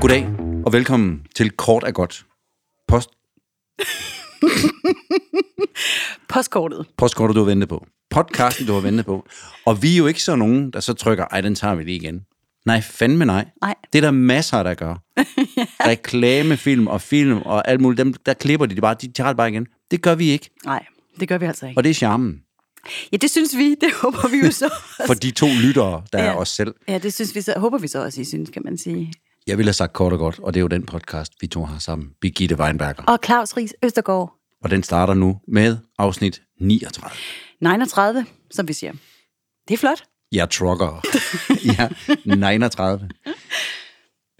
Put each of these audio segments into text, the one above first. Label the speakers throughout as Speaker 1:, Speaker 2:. Speaker 1: Goddag, og velkommen til Kort er godt. Post,
Speaker 2: Postkortet.
Speaker 1: postkortet, du har ventet på. Podcasten, du har ventet på. Og vi er jo ikke så nogen, der så trykker, ej, den tager vi lige igen. Nej, fandme nej.
Speaker 2: Nej.
Speaker 1: Det er der masser, der gør. Reklamefilm og film og alt muligt. Dem, der klipper de det bare, de tager det bare igen. Det gør vi ikke,
Speaker 2: Nej, det gør vi altså ikke.
Speaker 1: og det er charmen.
Speaker 2: Ja, det synes vi. Det håber vi jo så
Speaker 1: For
Speaker 2: også.
Speaker 1: de to lyttere, der er
Speaker 2: Ja.
Speaker 1: os selv.
Speaker 2: Ja, det synes vi så, håber vi så også, I synes, kan man sige.
Speaker 1: Jeg ville have sagt kort og godt, og det er jo den podcast, vi to har sammen. Birgitte Weinberger.
Speaker 2: Og Claus Ries Østergaard,
Speaker 1: Og den starter nu med afsnit 39.
Speaker 2: 39, som vi siger. Det er flot.
Speaker 1: Jeg er trucker. ja, 39.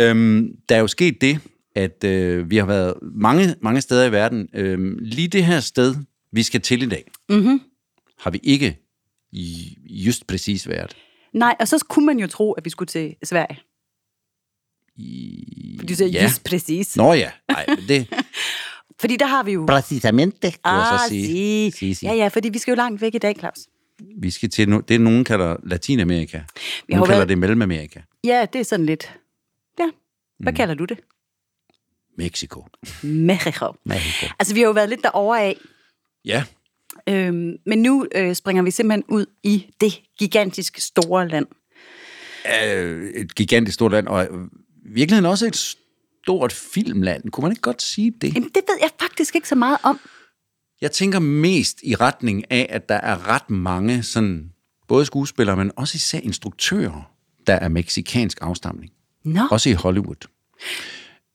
Speaker 1: Øhm, der er jo sket det, at øh, vi har været mange, mange steder i verden. Øhm, lige det her sted, vi skal til i dag, mm-hmm. har vi ikke i- just præcis været.
Speaker 2: Nej, og så kunne man jo tro, at vi skulle til Sverige.
Speaker 1: I...
Speaker 2: Fordi du siger,
Speaker 1: Ja.
Speaker 2: ja. yes, præcis.
Speaker 1: Nå ja, nej, det...
Speaker 2: Fordi der har vi jo... Ah,
Speaker 1: Præcisamente, kunne jeg så sige.
Speaker 2: sige.
Speaker 1: Sige, sige.
Speaker 2: Ja, ja, fordi vi skal jo langt væk i dag, Claus.
Speaker 1: Vi skal til, no- det nogen kalder Latinamerika.
Speaker 2: har jo
Speaker 1: Nogen kalder
Speaker 2: været-
Speaker 1: det Mellemamerika.
Speaker 2: Ja, det er sådan lidt... Ja, hvad mm. kalder du det?
Speaker 1: Mexico.
Speaker 2: Mexico.
Speaker 1: Mexico.
Speaker 2: Altså, vi har jo været lidt derovre af,
Speaker 1: Ja,
Speaker 2: øhm, men nu øh, springer vi simpelthen ud i det gigantisk store land.
Speaker 1: øh, et gigantisk stort land, og øh, i virkeligheden også et stort filmland. Kunne man ikke godt sige det?
Speaker 2: Jamen, det ved jeg faktisk ikke så meget om.
Speaker 1: Jeg tænker mest i retning af, at der er ret mange sådan, både skuespillere, men også især instruktører, der er meksikansk afstamning.
Speaker 2: Nå,
Speaker 1: Også i Hollywood.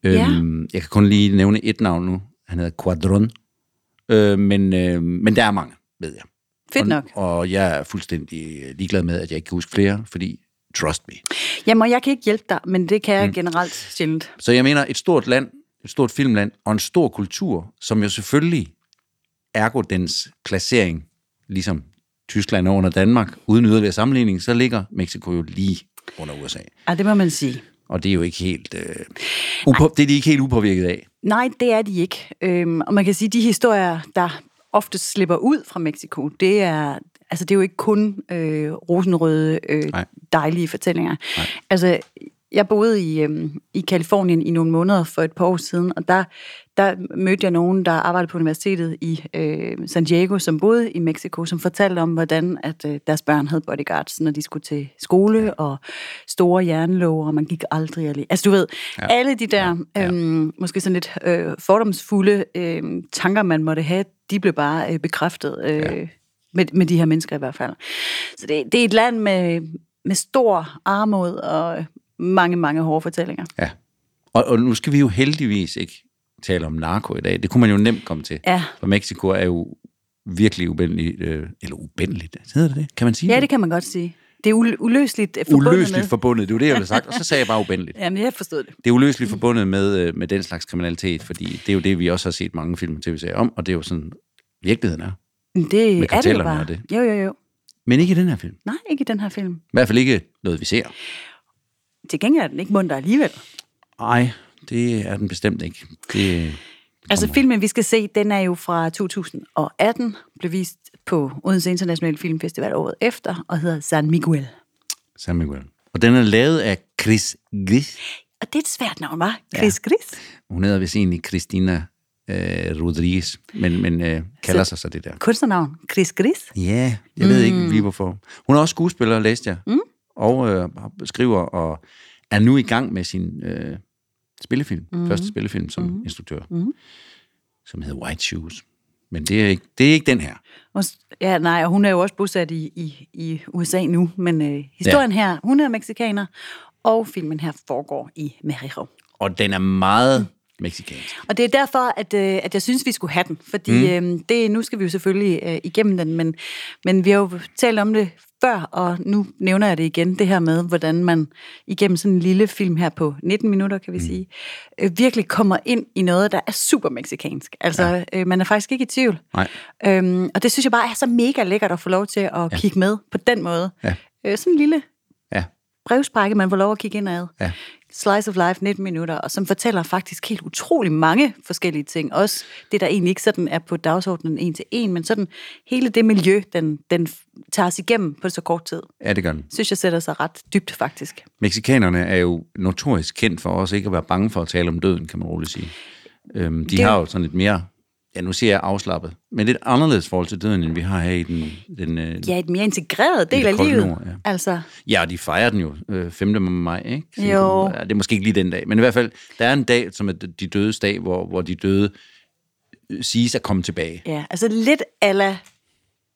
Speaker 2: Ja.
Speaker 1: Øhm, jeg kan kun lige nævne et navn nu. Han hedder Quadron. Øh, men, øh, men der er mange, ved jeg.
Speaker 2: fedt nok.
Speaker 1: Og, og jeg er fuldstændig ligeglad med, at jeg ikke kan huske flere, fordi trust me.
Speaker 2: Jamen, og jeg kan ikke hjælpe dig, men det kan jeg mm. generelt sjældent.
Speaker 1: Så jeg mener, et stort land, et stort filmland og en stor kultur, som jo selvfølgelig ergo dens placering, ligesom Tyskland er under Danmark, uden yderligere sammenligning, så ligger Mexico jo lige under USA.
Speaker 2: Ja, det må man sige.
Speaker 1: Og det er jo ikke helt... Øh, upå- det er de ikke helt upåvirket af.
Speaker 2: Nej, det er de ikke. Øhm, og man kan sige, at de historier, der ofte slipper ud fra Mexico, det er, altså, det er jo ikke kun øh, rosenrøde, øh,
Speaker 1: Nej.
Speaker 2: dejlige fortællinger. Nej. Altså, jeg boede i, øhm, i Kalifornien i nogle måneder for et par år siden, og der, der mødte jeg nogen, der arbejdede på universitetet i øh, San Diego, som boede i Mexico, som fortalte om, hvordan at, øh, deres børn havde bodyguards, når de skulle til skole, og store jernlåger, og man gik aldrig alene. Altså du ved, ja. alle de der ja. øhm, måske sådan lidt øh, fordomsfulde øh, tanker, man måtte have, de blev bare øh, bekræftet øh, ja. med, med de her mennesker i hvert fald. Så det, det er et land med, med stor armod og øh, mange, mange hårde fortællinger.
Speaker 1: Ja. Og, og nu skal vi jo heldigvis ikke tale om narko i dag. Det kunne man jo nemt komme til.
Speaker 2: Ja.
Speaker 1: For Mexico er jo virkelig ubendeligt, øh, eller ubendeligt, hedder det det? Kan man sige
Speaker 2: Ja, det kan man godt sige. Det er ul- uløseligt øh, forbundet
Speaker 1: Uløseligt
Speaker 2: med.
Speaker 1: forbundet, det var det, jeg ville have sagt. Og så sagde jeg bare ubendeligt.
Speaker 2: Jamen, jeg forstod det.
Speaker 1: det er uløseligt forbundet med, øh, med den slags kriminalitet, fordi det er jo det, vi også har set mange film og tv-serier om, og det er jo sådan, virkeligheden er.
Speaker 2: Men Det
Speaker 1: Med
Speaker 2: er det
Speaker 1: kartellerne
Speaker 2: jo
Speaker 1: og
Speaker 2: bare.
Speaker 1: det.
Speaker 2: Jo, jo, jo.
Speaker 1: Men ikke i den her film.
Speaker 2: Nej, ikke i den her film.
Speaker 1: I hvert fald ikke noget, vi ser.
Speaker 2: Til gengæld er den ikke munter alligevel.
Speaker 1: Nej, det er den bestemt ikke. Det,
Speaker 2: Altså filmen, vi skal se, den er jo fra 2018, blev vist på Odense Internationale Filmfestival året efter, og hedder San Miguel.
Speaker 1: San Miguel. Og den er lavet af Chris Gris.
Speaker 2: Og det er et svært navn, var? Chris ja. Gris?
Speaker 1: Hun hedder vist egentlig Christina øh, Rodriguez, men, men øh, kalder sig så det der.
Speaker 2: Kunstnernavn? Chris Gris?
Speaker 1: Ja, jeg ved ikke lige hvorfor. Hun er også skuespiller, læste jeg. Mm. Og øh, skriver og er nu i gang med sin øh, spillefilm. Mm. Første spillefilm som mm. instruktør. Mm. Som hedder White Shoes. Men det er ikke, det er ikke den her.
Speaker 2: Og s- Ja, nej, og hun er jo også bosat i, i, i USA nu, men øh, historien ja. her, hun er meksikaner, og filmen her foregår i Mexico.
Speaker 1: Og den er meget mm. mexicansk.
Speaker 2: Og det er derfor, at, øh, at jeg synes, vi skulle have den. Fordi mm. øh, det, nu skal vi jo selvfølgelig øh, igennem den, men, men vi har jo talt om det før, og nu nævner jeg det igen, det her med, hvordan man igennem sådan en lille film her på 19 minutter, kan vi mm. sige, øh, virkelig kommer ind i noget, der er super meksikansk. Altså, ja. øh, man er faktisk ikke i tvivl.
Speaker 1: Nej.
Speaker 2: Øhm, og det synes jeg bare er så mega lækkert at få lov til at ja. kigge med på den måde.
Speaker 1: Ja.
Speaker 2: Øh, sådan en lille
Speaker 1: Ja.
Speaker 2: brevsprække, man får lov at kigge indad.
Speaker 1: Ja.
Speaker 2: Slice of Life 19 minutter, og som fortæller faktisk helt utrolig mange forskellige ting. Også det, der egentlig ikke sådan er på dagsordenen en til en, men sådan hele det miljø, den, den tager os igennem på så kort tid,
Speaker 1: Ja, det gør den.
Speaker 2: synes jeg sætter sig ret dybt faktisk.
Speaker 1: Mexikanerne er jo notorisk kendt for også ikke at være bange for at tale om døden, kan man roligt sige. Øhm, de
Speaker 2: Det-
Speaker 1: det... har jo sådan et mere, ja nu siger jeg afslappet, men lidt anderledes forhold til døden, end vi har her i den... den øh,
Speaker 2: Ja, et mere integreret del
Speaker 1: det
Speaker 2: af
Speaker 1: kolde
Speaker 2: livet.
Speaker 1: nord, ja.
Speaker 2: Altså,
Speaker 1: Ja, de fejrer den jo øh, 5. maj, ikke?
Speaker 2: Jo.
Speaker 1: Ja, det er måske ikke lige den dag, men i hvert fald, der er en dag, som er de dødes dag, hvor, hvor de døde øh, siges at komme tilbage.
Speaker 2: ja, altså lidt ala,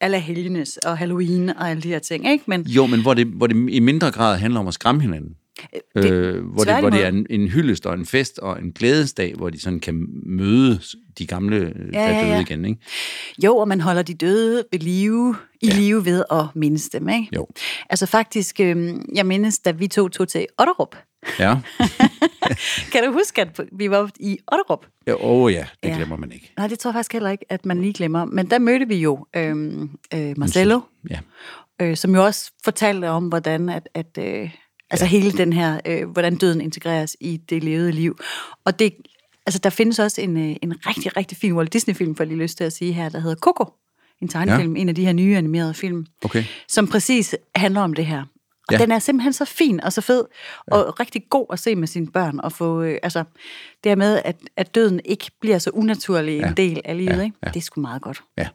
Speaker 2: ala helgenes og Halloween og alle de her ting, ikke? Men
Speaker 1: Jo, men hvor det, hvor det i mindre grad handler om at skræmme hinanden.
Speaker 2: det-
Speaker 1: øh, hvor, det, hvor det
Speaker 2: tværtimod.
Speaker 1: er en, en hyldest og en fest og en glædesdag, hvor de sådan kan mødes, de gamle, øh, der
Speaker 2: Ja, ja,
Speaker 1: er døde
Speaker 2: ja.
Speaker 1: igen, ikke?
Speaker 2: Jo, og man holder de døde ved live, i ja. live ved at mindes dem, ikke?
Speaker 1: Jo.
Speaker 2: Altså faktisk, øh, jeg mindes, da vi to tog til Otterup.
Speaker 1: Ja,
Speaker 2: Kan du huske, at vi var i Otterup?
Speaker 1: Ja, åh oh, ja, det
Speaker 2: Ja.
Speaker 1: ja. glemmer man ikke.
Speaker 2: Nej, det tror jeg faktisk heller ikke, at man lige glemmer. Men der mødte vi jo øh, øh, Marcello,
Speaker 1: Ja,
Speaker 2: øh, som jo også fortalte om, hvordan at, at øh, altså hele den her, øh, hvordan døden integreres i det levede liv. Og det, altså der findes også en, øh, en rigtig, rigtig fin Walt Disney-film, får jeg lige lyst til at sige her, der hedder Coco. En tegnefilm, ja. en af de her nye animerede film.
Speaker 1: okay.
Speaker 2: som præcis handler om det her. Og ja.
Speaker 1: Ja.
Speaker 2: den er simpelthen så fin og så fed, og rigtig god at se med sine børn, og få, øh, altså, det her med, at, at døden ikke bliver så unaturlig ja. en del af livet, ja.
Speaker 1: Ja,
Speaker 2: ikke?
Speaker 1: ja.
Speaker 2: Det er sgu meget godt.
Speaker 1: Ja.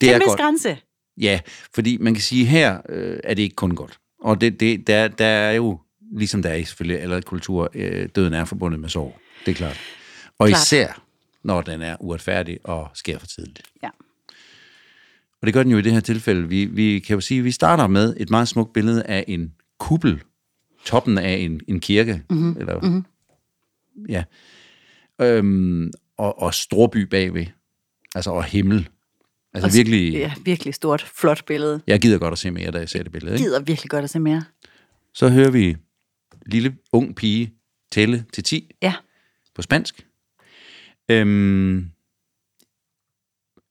Speaker 2: Det
Speaker 1: er
Speaker 2: er
Speaker 1: godt.
Speaker 2: grænse.
Speaker 1: Ja, fordi man kan sige, her øh, er det ikke kun godt. Og det, det, der, der er jo, ligesom der er i selvfølgelig allerede kultur, øh, døden er forbundet med sorg. Det er klart. Og
Speaker 2: Klart.
Speaker 1: klart. især, når den er uretfærdig og sker for tidligt.
Speaker 2: Ja.
Speaker 1: Og det gør den jo i det her tilfælde. Vi, vi kan jo sige, at vi starter med et meget smukt billede af en kuppel. Toppen af en, en kirke.
Speaker 2: Mhm.
Speaker 1: Mm-hmm. Eller, mm-hmm. Ja. Øhm, og, og storby bagved. Altså, og himmel. Altså
Speaker 2: Og s-
Speaker 1: virkelig,
Speaker 2: Ja, virkelig stort, flot billede.
Speaker 1: jeg gider godt at se mere, da jeg ser det billede.
Speaker 2: Jeg
Speaker 1: Ikke?
Speaker 2: gider virkelig godt at se mere.
Speaker 1: Så hører vi lille ung pige tælle til 10
Speaker 2: Ja,
Speaker 1: på spansk. Øhm,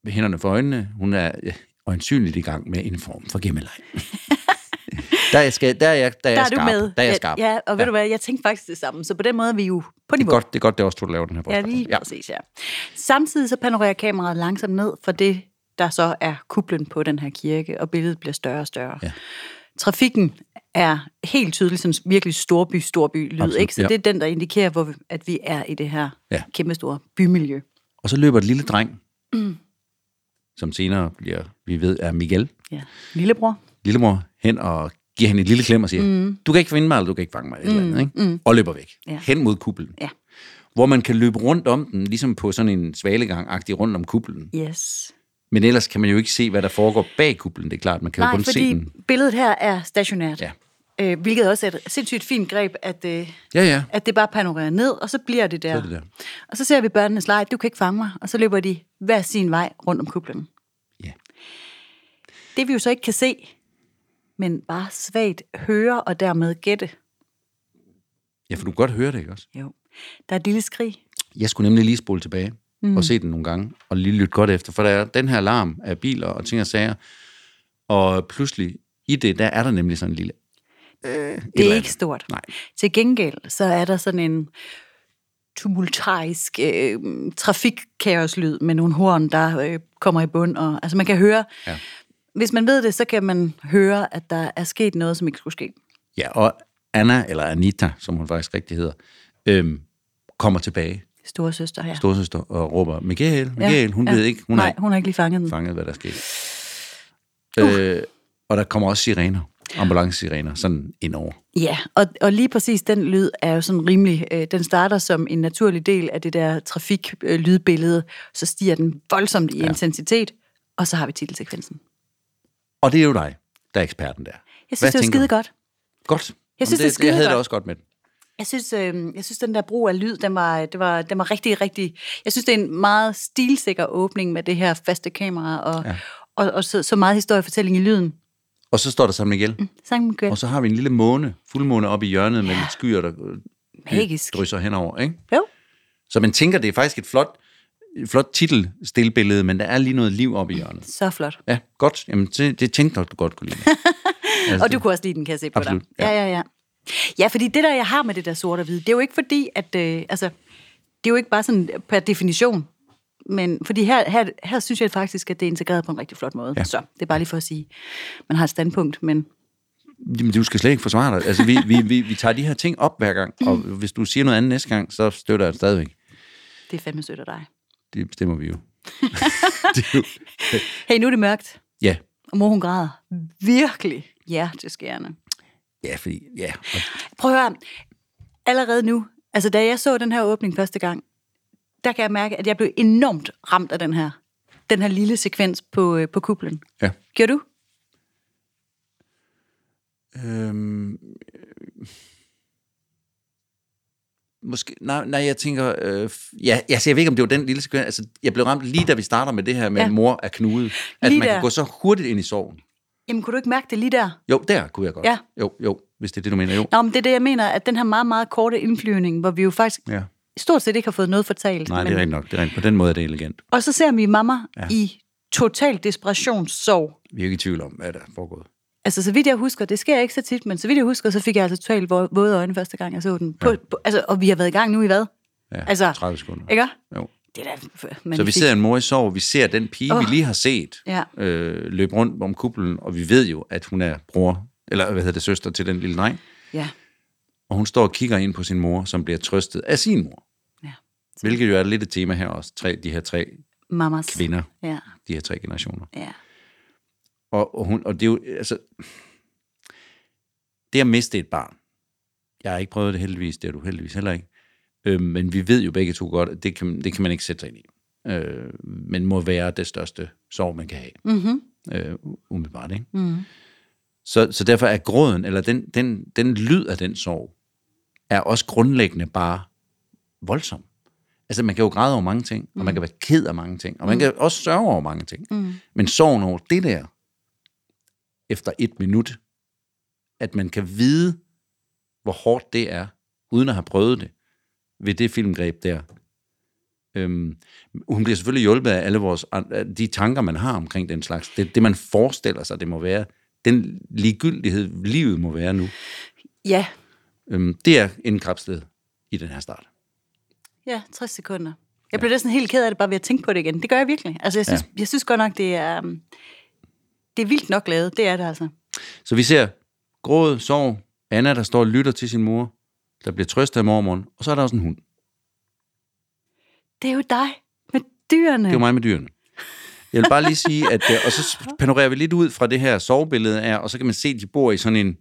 Speaker 1: med hænderne for øjnene, hun er øh, øjensynligt i gang med en form for gemmeleg. der, er jeg, skal, der, er jeg, der, er
Speaker 2: der
Speaker 1: jeg
Speaker 2: er
Speaker 1: skarp.
Speaker 2: du med.
Speaker 1: Der er jeg skarp.
Speaker 2: Ja, og ved ja.
Speaker 1: Ja.
Speaker 2: du hvad, jeg tænkte faktisk det samme, så på den måde er vi jo på
Speaker 1: det, er
Speaker 2: niveau.
Speaker 1: godt, det er godt, det er også du, der laver den her
Speaker 2: Ja,
Speaker 1: podcast.
Speaker 2: lige ja. præcis, ja. Samtidig så panorerer kameraet langsomt ned for det, der så er kuplen på den her kirke, og billedet bliver større og større. Ja. Trafikken er helt tydeligt sådan virkelig storby, storby lyd,
Speaker 1: Absolut,
Speaker 2: ikke? Så
Speaker 1: ja.
Speaker 2: det er den, der indikerer, hvor vi, at vi er i det her ja.
Speaker 1: Ja.
Speaker 2: kæmpestore bymiljø.
Speaker 1: Og så løber et lille dreng, mm. som senere bliver, vi ved, er Miguel,
Speaker 2: Ja. Lillebror.
Speaker 1: lillemor, hen og giver hende et lille klem og siger, mm. du kan ikke finde mig, eller du kan ikke fange mig, eller mm. eller andet, ikke? Mm. og løber væk,
Speaker 2: Ja.
Speaker 1: ja. hen mod kuplen.
Speaker 2: Ja.
Speaker 1: Hvor man kan løbe rundt om den, ligesom på sådan en svalegang-agtig rundt om kuplen.
Speaker 2: Yes.
Speaker 1: Men ellers kan man jo ikke se, hvad der foregår bag kuplen, det er klart. Man kan jo
Speaker 2: Nej,
Speaker 1: kun se
Speaker 2: fordi
Speaker 1: den.
Speaker 2: billedet her er stationært.
Speaker 1: Ja.
Speaker 2: Øh, hvilket også er et sindssygt fint greb, at, øh,
Speaker 1: Ja, ja.
Speaker 2: at det bare panorerer ned, og så bliver det der.
Speaker 1: er det der.
Speaker 2: Og så ser vi børnenes leg, du kan ikke fange mig, og så løber de hver sin vej rundt om kuplen.
Speaker 1: Ja.
Speaker 2: Det vi jo så ikke kan se, men bare svagt høre og dermed gætte.
Speaker 1: ja, for du kan godt høre det, ikke også?
Speaker 2: Jo. Der er et lille skrig.
Speaker 1: Jeg skulle nemlig lige spole tilbage mm. og se den nogle gange, og lige lytte godt efter, for der er den her alarm af biler og ting og sager, og pludselig i det, der er der nemlig sådan en lille...
Speaker 2: Det er
Speaker 1: eller
Speaker 2: ikke stort.
Speaker 1: Nej.
Speaker 2: Til gengæld, så er der sådan en tumultarisk øh, trafikkaoslyd med nogle horn, der øh, kommer i bund. Og, altså man kan høre, ja. hvis man ved det, så kan man høre, at der er sket noget, som ikke skulle ske.
Speaker 1: Ja, og Anna, eller Anita, som hun faktisk rigtig hedder, øhm, kommer tilbage,
Speaker 2: Storesøster her.
Speaker 1: storsøster, og råber, Michael, Michael, ja, hun ja. ved ikke, hun
Speaker 2: Nej,
Speaker 1: har ikke
Speaker 2: hun har ikke lige fanget den.
Speaker 1: fanget, hvad der skete. Uh. Øh, og der kommer også sirener, ambulancesirener, sådan indover.
Speaker 2: Ja, og, og lige præcis den lyd er jo sådan rimelig, øh, den starter som en naturlig del af det der trafiklydbillede, øh, lydbillede. så stiger den voldsomt i ja. intensitet, og så har vi titelsekvensen.
Speaker 1: Og det er jo dig, der er eksperten der.
Speaker 2: Jeg synes, Hvad det er
Speaker 1: tænker
Speaker 2: skide
Speaker 1: du?
Speaker 2: godt.
Speaker 1: Godt.
Speaker 2: Jeg synes,
Speaker 1: Jamen,
Speaker 2: det er skide
Speaker 1: Jeg havde
Speaker 2: godt.
Speaker 1: det også godt med den.
Speaker 2: Jeg synes, øh, jeg synes, den der brug af lyd, den var, det var, den var rigtig, rigtig... Jeg synes, det er en meget stilsikker åbning med det her faste kamera, og, ja. og, og så, så meget historiefortælling i lyden.
Speaker 1: Og så står der San Miguel. Mm.
Speaker 2: Sankt Miguel.
Speaker 1: Og så har vi en lille måne, fuldmåne oppe i hjørnet med lidt skyer, der øh,
Speaker 2: Magisk.
Speaker 1: drysser henover. Ikke?
Speaker 2: Jo.
Speaker 1: Så man tænker, det er faktisk et flot, flot titel, stillbillede, men der er lige noget liv oppe i hjørnet.
Speaker 2: Så flot.
Speaker 1: Ja, godt. Jamen, det, det tænkte jeg, du godt kunne lide. Altså,
Speaker 2: Og du kunne også lide den, kan jeg se på
Speaker 1: Absolut,
Speaker 2: dig.
Speaker 1: ja.
Speaker 2: Ja, ja, ja. Ja, fordi det der, jeg har med det der sort og hvide, det er jo ikke fordi, at... Øh, altså, det er jo ikke bare sådan per definition. Men fordi her, her, her synes jeg faktisk, at det er integreret på en rigtig flot måde.
Speaker 1: Ja.
Speaker 2: Ja. Så det er bare lige for at sige, man har et standpunkt, men
Speaker 1: Jamen, du skal slet ikke forsvare dig. Altså, vi, vi, vi, vi tager de her ting op hver gang, og hvis du siger noget andet næste gang, så støtter jeg dig stadigvæk.
Speaker 2: det er fandme sødt af dig.
Speaker 1: Det bestemmer vi jo. det er jo
Speaker 2: Hey, nu er det mørkt,
Speaker 1: ja.
Speaker 2: og mor hun græder. Virkelig hjerteskærende.
Speaker 1: ja, fordi... Ja. Og
Speaker 2: Prøv at høre, allerede nu, altså da jeg så den her åbning første gang, der kan jeg mærke, at jeg blev enormt ramt af den her, den her lille sekvens på, øh, på kuplen.
Speaker 1: Ja.
Speaker 2: Gjorde du?
Speaker 1: Øhm, øh, måske, nej, nej, jeg tænker, øh, f- ja, altså, jeg ved ikke, om det var den lille sekvens, altså, jeg blev ramt lige da vi starter med det her med, ja.
Speaker 2: Ja.
Speaker 1: mor er knudet, at
Speaker 2: Lige
Speaker 1: man
Speaker 2: der.
Speaker 1: kan gå så hurtigt ind i sorgen.
Speaker 2: Jamen, kunne du ikke mærke det lige der?
Speaker 1: Jo, der kunne jeg godt.
Speaker 2: Ja.
Speaker 1: Jo, jo, hvis det er det, du mener, jo.
Speaker 2: Nå, men det er det, jeg mener, at den her meget, meget korte indflyvning, hvor vi jo faktisk
Speaker 1: Ja.
Speaker 2: stort set ikke har fået noget fortalt.
Speaker 1: Nej, det er rigtigt nok. Det er rigtigt. På den måde er det elegant.
Speaker 2: Og så ser vi mamma
Speaker 1: Ja.
Speaker 2: ja. i total desperationssorg.
Speaker 1: Vi er jo ikke i tvivl om, hvad der er foregået.
Speaker 2: Altså, så vidt jeg husker, det sker ikke så tit, men så vidt jeg husker, så fik jeg altså totalt vå- våde øjne første gang, jeg så den. På, ja. på, altså, og vi har været i gang nu i hvad?
Speaker 1: Ja,
Speaker 2: Altså-
Speaker 1: 30 sekunder.
Speaker 2: Ikke?
Speaker 1: Jo.
Speaker 2: Det er da f-
Speaker 1: Så vi
Speaker 2: magnifikt.
Speaker 1: ser en mor i sorg, vi ser den pige, oh. vi
Speaker 2: Åh.
Speaker 1: lige har set
Speaker 2: Ja.
Speaker 1: øh, løbe rundt om kuplen, og vi ved jo, at hun er bror, eller hvad hedder det, søster til den lille dreng.
Speaker 2: Ja.
Speaker 1: Og hun står og kigger ind på sin mor, som bliver trøstet af sin mor.
Speaker 2: ja.
Speaker 1: Hvilket jo er lidt et tema her også, tre, de her tre
Speaker 2: Mamas.
Speaker 1: vinder,
Speaker 2: Ja,
Speaker 1: de her tre generationer.
Speaker 2: ja.
Speaker 1: Og, og, hun, og det er jo, altså, det at miste et barn, jeg har ikke prøvet det heldigvis, det har du heldigvis heller ikke, øh, men vi ved jo begge to godt, at det kan, det kan man ikke sætte sig ind i. Øh, men må være det største sorg, man kan have.
Speaker 2: Mm-hmm.
Speaker 1: øh, umiddelbart. Ikke?
Speaker 2: Mm.
Speaker 1: Så, så derfor er gråden, eller den, den, den lyd af den sorg, er også grundlæggende bare voldsom. Altså man kan jo græde over mange ting, og man kan være ked af mange ting, og man kan også sørge over mange ting.
Speaker 2: Mm.
Speaker 1: Men sorgen over det der, efter et minut, at man kan vide, hvor hårdt det er, uden at have prøvet det, ved det filmgreb der. Øhm, hun bliver selvfølgelig hjulpet af alle vores, af de tanker, man har omkring den slags. Det, det man forestiller sig, det må være. Den ligegyldighed, livet må være nu.
Speaker 2: Ja,
Speaker 1: Øhm, det er indkapslet i den her start.
Speaker 2: ja, 60 sekunder. Jeg blev næsten helt ked af det, bare ved at tænke på det igen. Det gør jeg virkelig. Altså, jeg synes, ja. jeg synes godt nok, det er, um, det er vildt nok lavet. Det er det altså.
Speaker 1: Så vi ser gråd, sorg, Anna, der står og lytter til sin mor, der bliver trøstet af mormoren, og så er der også en hund.
Speaker 2: Det er jo dig med dyrene.
Speaker 1: Det var mig med dyrene. Jeg vil bare lige sige, at øh, og så panorerer vi lidt ud fra det her sovebillede af, og så kan man se, at de bor i sådan en...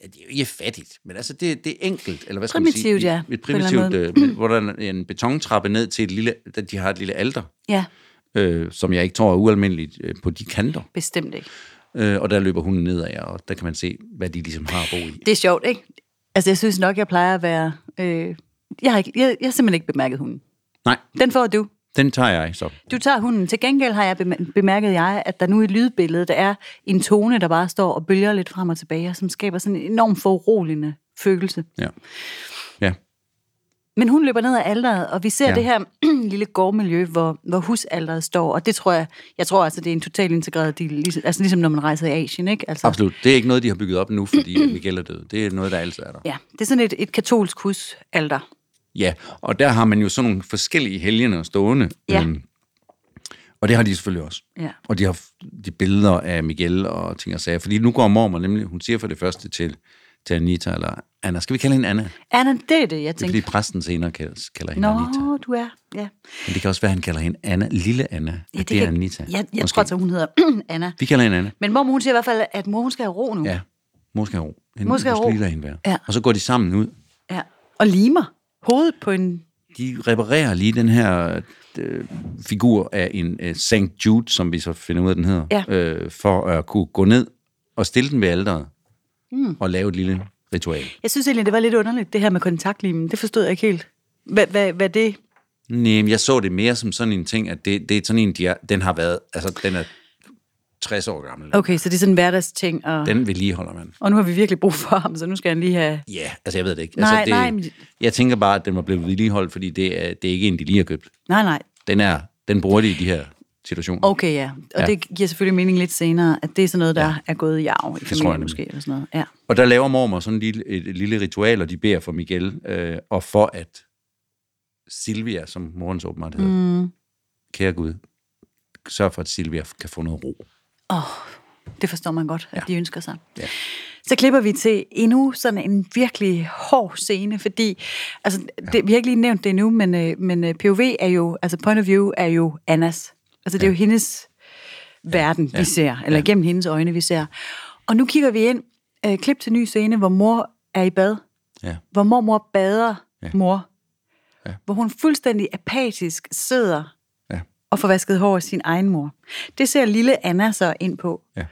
Speaker 1: Ja, det er jo ikke fattigt, men altså det, det er enkelt, eller hvad skal man
Speaker 2: Primitivt,
Speaker 1: sige?
Speaker 2: ja,
Speaker 1: Et
Speaker 2: på en eller
Speaker 1: primitivt,
Speaker 2: anden
Speaker 1: øh, med- hvor der er en- en betontrappe ned til et lille... der- De har et lille alter,
Speaker 2: Ja,
Speaker 1: øh, som jeg ikke tror er ualmindeligt øh, på de kanter.
Speaker 2: bestemt ikke.
Speaker 1: Øh, og der løber hunden nedad, og der kan man se, hvad de ligesom har at bo i.
Speaker 2: Det er sjovt, ikke? Altså, jeg synes nok, jeg plejer at være... Øh, jeg, har ikke, jeg, jeg har simpelthen ikke bemærket hunden.
Speaker 1: Nej,
Speaker 2: Den får du.
Speaker 1: den tager jeg så.
Speaker 2: Du tager hunden. Til gengæld har jeg bem- bemærket jeg, at der nu i lydbilledet er en tone, der bare står og bølger lidt frem og tilbage, og som skaber sådan en enorm foruroligende følelse.
Speaker 1: Ja. Ja,
Speaker 2: Men hun løber ned ad alderet, og vi ser
Speaker 1: Ja.
Speaker 2: ja. det her lille gårdmiljø, hvor, hvor husalderet står, og det tror jeg, jeg tror altså, det er en totalt integreret del, ligesom, altså ligesom når man rejser i Asien, ikke? Altså,
Speaker 1: absolut. Det er ikke noget, de har bygget op nu, fordi at Michael er død. Det er noget, der altid er der.
Speaker 2: Ja, det er sådan et, et katolsk husalter.
Speaker 1: Ja, og der har man jo sådan nogle forskellige helgener stående. øhm,
Speaker 2: Ja.
Speaker 1: og det har de selvfølgelig også.
Speaker 2: Ja.
Speaker 1: Og de har f- de billeder af Miguel og ting og sager. Fordi nu går mormor nemlig, hun siger for det første til, til Anita, eller Anna, skal vi kalde hende Anna? Det
Speaker 2: Anna, det er det, jeg
Speaker 1: er
Speaker 2: tænkte.
Speaker 1: fordi præsten senere kalder, kalder hende Anita.
Speaker 2: Nå, du er, ja.
Speaker 1: Men det kan også være, at han kalder hende Anna, lille Anna. Ja, det, det er
Speaker 2: kan-
Speaker 1: Anita.
Speaker 2: Jeg, jeg
Speaker 1: Måske.
Speaker 2: tror altså, hun hedder Anna.
Speaker 1: Vi kalder hende Anna.
Speaker 2: Men mormor, hun siger i hvert fald, at mor, hun skal have ro nu.
Speaker 1: Ja, mor skal have ro. Hende,
Speaker 2: Mor skal have ro.
Speaker 1: Lige lade hende være.
Speaker 2: Ja.
Speaker 1: Og så går de sammen ud.
Speaker 2: ja. Og limer hovedet på en...
Speaker 1: de reparerer lige den her øh, figur af en øh, St. Jude, som vi så finder ud af, den hedder,
Speaker 2: Ja.
Speaker 1: øh, for at kunne gå ned og stille den ved alderet
Speaker 2: Hmm.
Speaker 1: mm. og lave et lille ritual.
Speaker 2: Jeg synes egentlig, det var lidt underligt, det her med kontaktlimen. Det forstod jeg ikke helt. Hvad, hvad, hvad det...
Speaker 1: Nej, jeg så det mere som sådan en ting, at det, det er sådan en, de er, den har været, altså den er 60 år gammel. Okay.
Speaker 2: Okay, så det er sådan en hverdagsting, og,
Speaker 1: Den vedligeholder man.
Speaker 2: og nu har vi virkelig brug for ham, så nu skal han lige have...
Speaker 1: Ja, yeah, altså jeg ved det ikke.
Speaker 2: Nej,
Speaker 1: altså, det,
Speaker 2: nej, men-
Speaker 1: Jeg tænker bare, at den var blevet vedligeholdt, fordi det er, det er ikke en, de lige har købt.
Speaker 2: Nej, nej,
Speaker 1: Den er, den bruger de i de her situationer.
Speaker 2: Okay, ja.
Speaker 1: Ja.
Speaker 2: Og ja. det giver selvfølgelig mening lidt senere, at det er sådan noget, der
Speaker 1: Ja.
Speaker 2: ja. er gået i arv i
Speaker 1: tror jeg
Speaker 2: familien
Speaker 1: nemlig.
Speaker 2: måske, eller sådan noget. Ja.
Speaker 1: Og der laver mormor sådan et lille, et, et lille ritual, og de beder for Miguel, øh, og for at Silvia, som morens åbenbart hedder, mm.
Speaker 2: Mm.
Speaker 1: kære Gud, sørg for, at Silvia kan få noget ro.
Speaker 2: Oh, det forstår man godt, at
Speaker 1: Ja.
Speaker 2: de ønsker sig.
Speaker 1: Ja.
Speaker 2: Så klipper vi til endnu sådan en virkelig hård scene, fordi altså, det, vi har ikke lige nævnt det endnu, men, øh, men øh, POV er jo, altså point of view er jo Annas. Altså det er jo hendes verden, vi ser, eller gennem hendes øjne, vi ser. Og nu kigger vi ind, øh, klip til ny scene, hvor mor er i bad,
Speaker 1: Ja.
Speaker 2: hvor mormor bader ja. mor,
Speaker 1: Ja.
Speaker 2: ja. hvor hun fuldstændig apatisk sidder
Speaker 1: Ja.
Speaker 2: og får vasket hår af sin egen mor. Det ser lille Anna så ind på.
Speaker 1: Ja.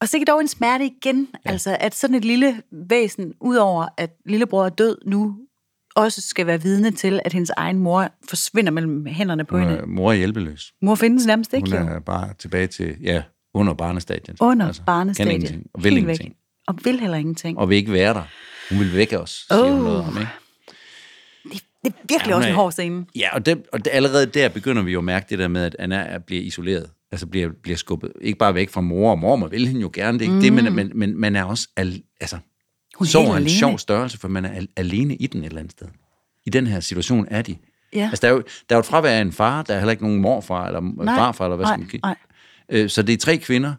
Speaker 2: Og sikkert dog en smerte igen, ja. altså at sådan et lille væsen, udover at lillebror er død nu, også skal være vidne til, at hendes egen mor forsvinder mellem hænderne på hende.
Speaker 1: Øh, mor er hjælpeløs.
Speaker 2: Mor findes nærmest ikke,
Speaker 1: Hun
Speaker 2: jo.
Speaker 1: er bare tilbage til, ja, under barnestadiet.
Speaker 2: Under
Speaker 1: Altså,
Speaker 2: altså,
Speaker 1: Kan
Speaker 2: barnestadiet.
Speaker 1: ingenting, og vil
Speaker 2: Helt væk.
Speaker 1: ingenting,
Speaker 2: Og vil heller ingenting.
Speaker 1: og vil ikke være der. Hun vil vække os, siger oh. hun
Speaker 2: Åh.
Speaker 1: noget om, ikke?
Speaker 2: Det, det er virkelig
Speaker 1: Ja, hun
Speaker 2: ja, også en
Speaker 1: er-
Speaker 2: hård scene.
Speaker 1: Ja, og, det, og det, allerede der begynder vi jo at mærke det der med, at Anna er, bliver isoleret. Altså bliver, bliver skubbet. Ikke bare væk fra mor, og mormor vil hende jo gerne, det er ikke mm. det, men, men, men man er også... Al, altså,
Speaker 2: Hun er
Speaker 1: sorg
Speaker 2: helt
Speaker 1: er en
Speaker 2: alene.
Speaker 1: sjov størrelse, for man er al, alene i den et eller andet sted. I den her situation er de.
Speaker 2: Ja.
Speaker 1: Altså, der er, jo, der er jo et fravær af en far, der er heller ikke nogen morfar, eller nej, farfar, eller hvad skal man
Speaker 2: nej,
Speaker 1: give.
Speaker 2: nej.
Speaker 1: Øh, Så det er tre kvinder,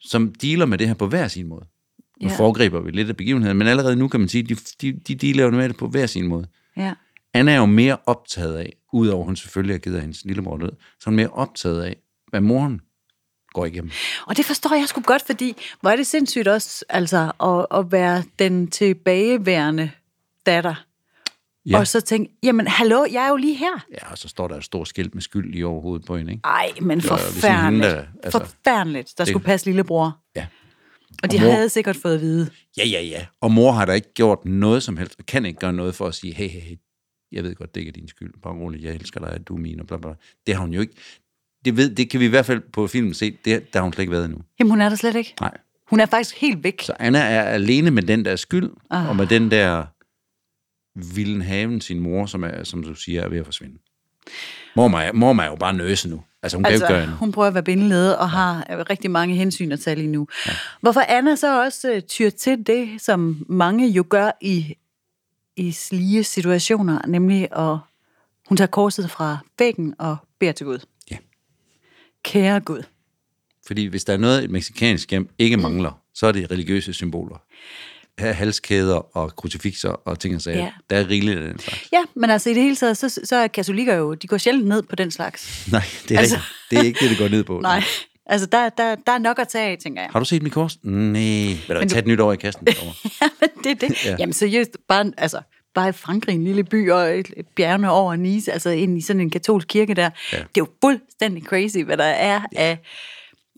Speaker 1: som dealer med det her på hver sin måde. Nu
Speaker 2: Ja.
Speaker 1: foregriber vi lidt af begivenheden, men allerede nu kan man sige, at de, de, de dealer jo med det på hver sin måde.
Speaker 2: Ja.
Speaker 1: Anna er jo mere optaget af, udover at hun selvfølgelig er givet af hendes lillebror død, så er hun mere optaget af, hvad moren går igennem.
Speaker 2: Og det forstår jeg sgu godt, fordi hvor er det sindssygt også altså, at, at være den tilbageværende datter.
Speaker 1: Ja.
Speaker 2: Ja. Og så tænke, jamen hallo, jeg er jo lige her.
Speaker 1: Ja, og så står der et stort skilt med skyld i overhovedet på hende, ikke?
Speaker 2: Ej, men
Speaker 1: var jo ligesom hende,
Speaker 2: forfærdeligt.
Speaker 1: der- altså-
Speaker 2: altså, forfærdeligt, der skulle passe lillebror.
Speaker 1: Ja.
Speaker 2: Og de
Speaker 1: mor-
Speaker 2: havde sikkert fået at vide.
Speaker 1: Ja, ja, ja. Og mor har da ikke gjort noget som helst, og kan ikke gøre noget for at sige, hey, hey, hey, jeg ved godt, det ikke er din skyld. Bare rolig, jeg elsker dig, du er min, og bla, bla, bla. Det har hun jo ikke. Det, ved, det kan vi i hvert fald på filmen se, det, der har hun slet ikke været endnu.
Speaker 2: Jamen, hun er der slet ikke.
Speaker 1: Nej.
Speaker 2: Hun er faktisk helt væk.
Speaker 1: Så Anna er alene med den der skyld, ah.
Speaker 2: Ah.
Speaker 1: og med den der vilden haven sin mor, som, er, som du siger, er ved at forsvinde. Mormor er, mormor er jo bare nøse nu. Altså, hun altså, kan jo ikke gøre
Speaker 2: hun prøver at være bindelede og har øh, rigtig mange hensyn at tage lige nu. Ja. Hvorfor Anna så også øh, tyr til det, som mange jo gør i, i slige situationer, nemlig at hun tager korset fra væggen og beder til Gud.
Speaker 1: Ja.
Speaker 2: Kære Gud.
Speaker 1: Fordi hvis der er noget, et meksikansk hjem
Speaker 2: Mm.
Speaker 1: ikke mangler, så er det religiøse symboler. Her er halskæder og krucifixer og ting og sager.
Speaker 2: Ja.
Speaker 1: Der er rigeligt af den slags.
Speaker 2: Ja, men altså i det hele taget, så, så er katolikker jo, de går sjældent ned på den slags.
Speaker 1: Nej, det er, altså...
Speaker 2: Altså-
Speaker 1: det er ikke det, det går ned på.
Speaker 2: Nej, altså der, der, der er nok at tage af, tænker jeg.
Speaker 1: Har du set mit kors? Nej. Vil du
Speaker 2: du-
Speaker 1: tage et nyt over i kassen? Over.
Speaker 2: Jamen, det er det.
Speaker 1: Ja.
Speaker 2: Ja. Jamen, seriøst, bare, altså, bare i Frankrig, en lille by og et- et bjergene over Nice, altså ind i sådan en katolsk kirke der. Ja. Det er jo fuldstændig crazy, hvad der er ja. af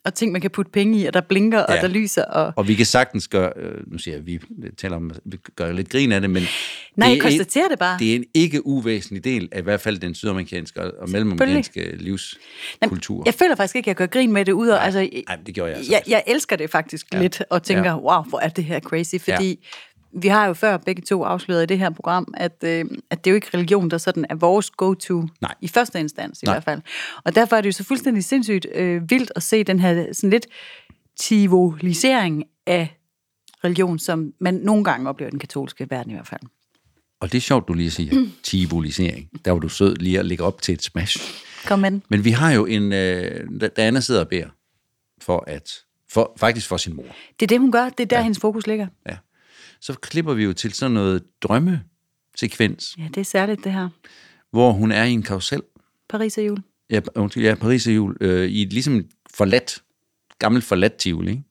Speaker 2: og ting, man kan putte penge i, og der blinker, ja.
Speaker 1: Ja.
Speaker 2: og der lyser, og...
Speaker 1: Og vi kan sagtens gøre, øh, nu siger jeg, vi taler om, vi gør lidt grin af det, men...
Speaker 2: Nej,
Speaker 1: det
Speaker 2: jeg
Speaker 1: er en-
Speaker 2: konstaterer det bare.
Speaker 1: Det er en ikke uvæsentlig del af i hvert fald den sydamerikanske og- og mellemamerikanske livskultur.
Speaker 2: Jeg føler faktisk ikke, at jeg gør grin med det, ud og, altså,
Speaker 1: nej, det gjorde jeg altså
Speaker 2: jeg, jeg elsker det faktisk ja. lidt, og tænker,
Speaker 1: Ja.
Speaker 2: ja. wow, hvor er det her crazy, fordi ja. vi har jo før begge to afsløret i det her program, at, øh, at det er jo ikke religion, der sådan er vores go-to,
Speaker 1: Nej.
Speaker 2: i første instans i
Speaker 1: Nej.
Speaker 2: hvert fald. Og derfor er det jo så fuldstændig sindssygt øh, vildt at se den her sådan lidt tivolisering af religion, som man nogle gange oplever i den katolske verden i hvert fald.
Speaker 1: Og det er sjovt, du lige siger. Tivolisering. Der var du sød lige at lægge op til et smash.
Speaker 2: Kom med den.
Speaker 1: Men vi har jo en... Øh, da- da Anna sidder og beder for at... For, faktisk for sin mor.
Speaker 2: Det er det, hun gør. Det er der, ja. hendes fokus ligger.
Speaker 1: Ja. Så klipper vi jo til sådan noget drømmesekvens,
Speaker 2: Ja, det er særligt det her.
Speaker 1: hvor hun er i en karusel.
Speaker 2: Paris og jul.
Speaker 1: Ja, undskyld, ja Paris og jul. Øh, I et ligesom forladt, gammelt forladt tivoli, ikke?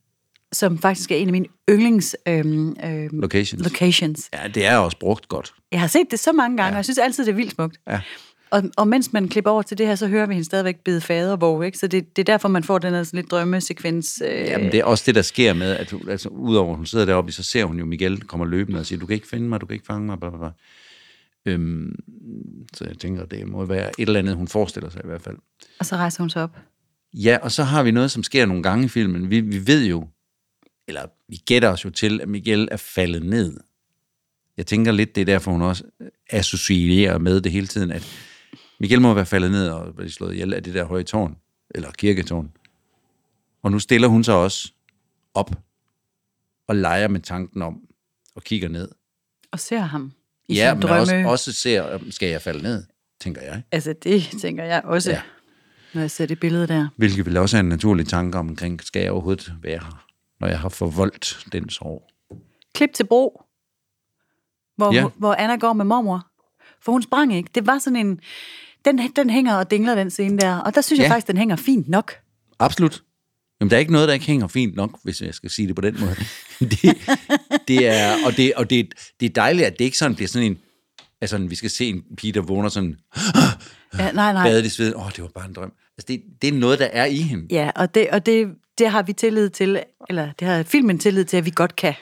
Speaker 2: Som faktisk er en af mine yndlings øhm, øhm,
Speaker 1: Locations.
Speaker 2: locations.
Speaker 1: Ja, det er også brugt godt.
Speaker 2: Jeg har set det så mange gange, ja. og jeg synes altid, det er vildt smukt.
Speaker 1: Ja.
Speaker 2: Og, og mens man klipper over til det her, så hører vi hende stadigvæk bide fader, hvor, ikke? Så det, det er derfor, man får den her sådan lidt drømmesekvens. Øh,
Speaker 1: Jamen, det er også det, der sker med, at hun- altså, udover at hun sidder deroppe, så ser hun jo Miguel kommer løbende og siger, du kan ikke finde mig, du kan ikke fange mig, bla, bla, bla. Øhm, så jeg tænker, det må være et eller andet, hun forestiller sig i hvert fald.
Speaker 2: Og så rejser hun sig op.
Speaker 1: Ja, og så har vi noget, som sker nogle gange i filmen. Vi, vi ved jo, eller vi gætter os jo til, at Miguel er faldet ned. Jeg tænker lidt, det er derfor, hun også associerer med det hele tiden, at Miguel må være faldet ned og blive slået ihjel af det der høje tårn. eller kirketårn. Og nu stiller hun sig også op og leger med tanken om, og kigger ned.
Speaker 2: Og ser ham i
Speaker 1: Ja,
Speaker 2: sin
Speaker 1: men
Speaker 2: drømme.
Speaker 1: også, også ser, skal jeg falde ned, tænker jeg.
Speaker 2: Altså, det tænker jeg også,
Speaker 1: Ja.
Speaker 2: ja. når jeg ser det billede der.
Speaker 1: Hvilket vil også er en naturlig tanke omkring, skal jeg overhovedet være her, når jeg har forvoldt den sorg.
Speaker 2: Klip til Bro, hvor,
Speaker 1: Ja.
Speaker 2: ja. hvor Anna går med mormor. For hun sprang ikke. Det var sådan en... Den, den hænger og dingler, den scene der. Og der synes ja.
Speaker 1: Ja.
Speaker 2: jeg faktisk, den hænger fint nok.
Speaker 1: Absolut. Jamen, der er ikke noget, der ikke hænger fint nok, hvis jeg skal sige det på den måde. Det, det er, og det, og det, det er dejligt, at det ikke sådan bliver sådan en... Altså, vi skal se en pige, der vågner sådan,
Speaker 2: Ja, nej, nej.
Speaker 1: badet i sved. Åh, oh, det var bare en drøm. Altså, det, det er noget, der er i hende.
Speaker 2: Ja, og, det, og det, det har vi tillid til, eller det har filmen tillid til, at vi godt kan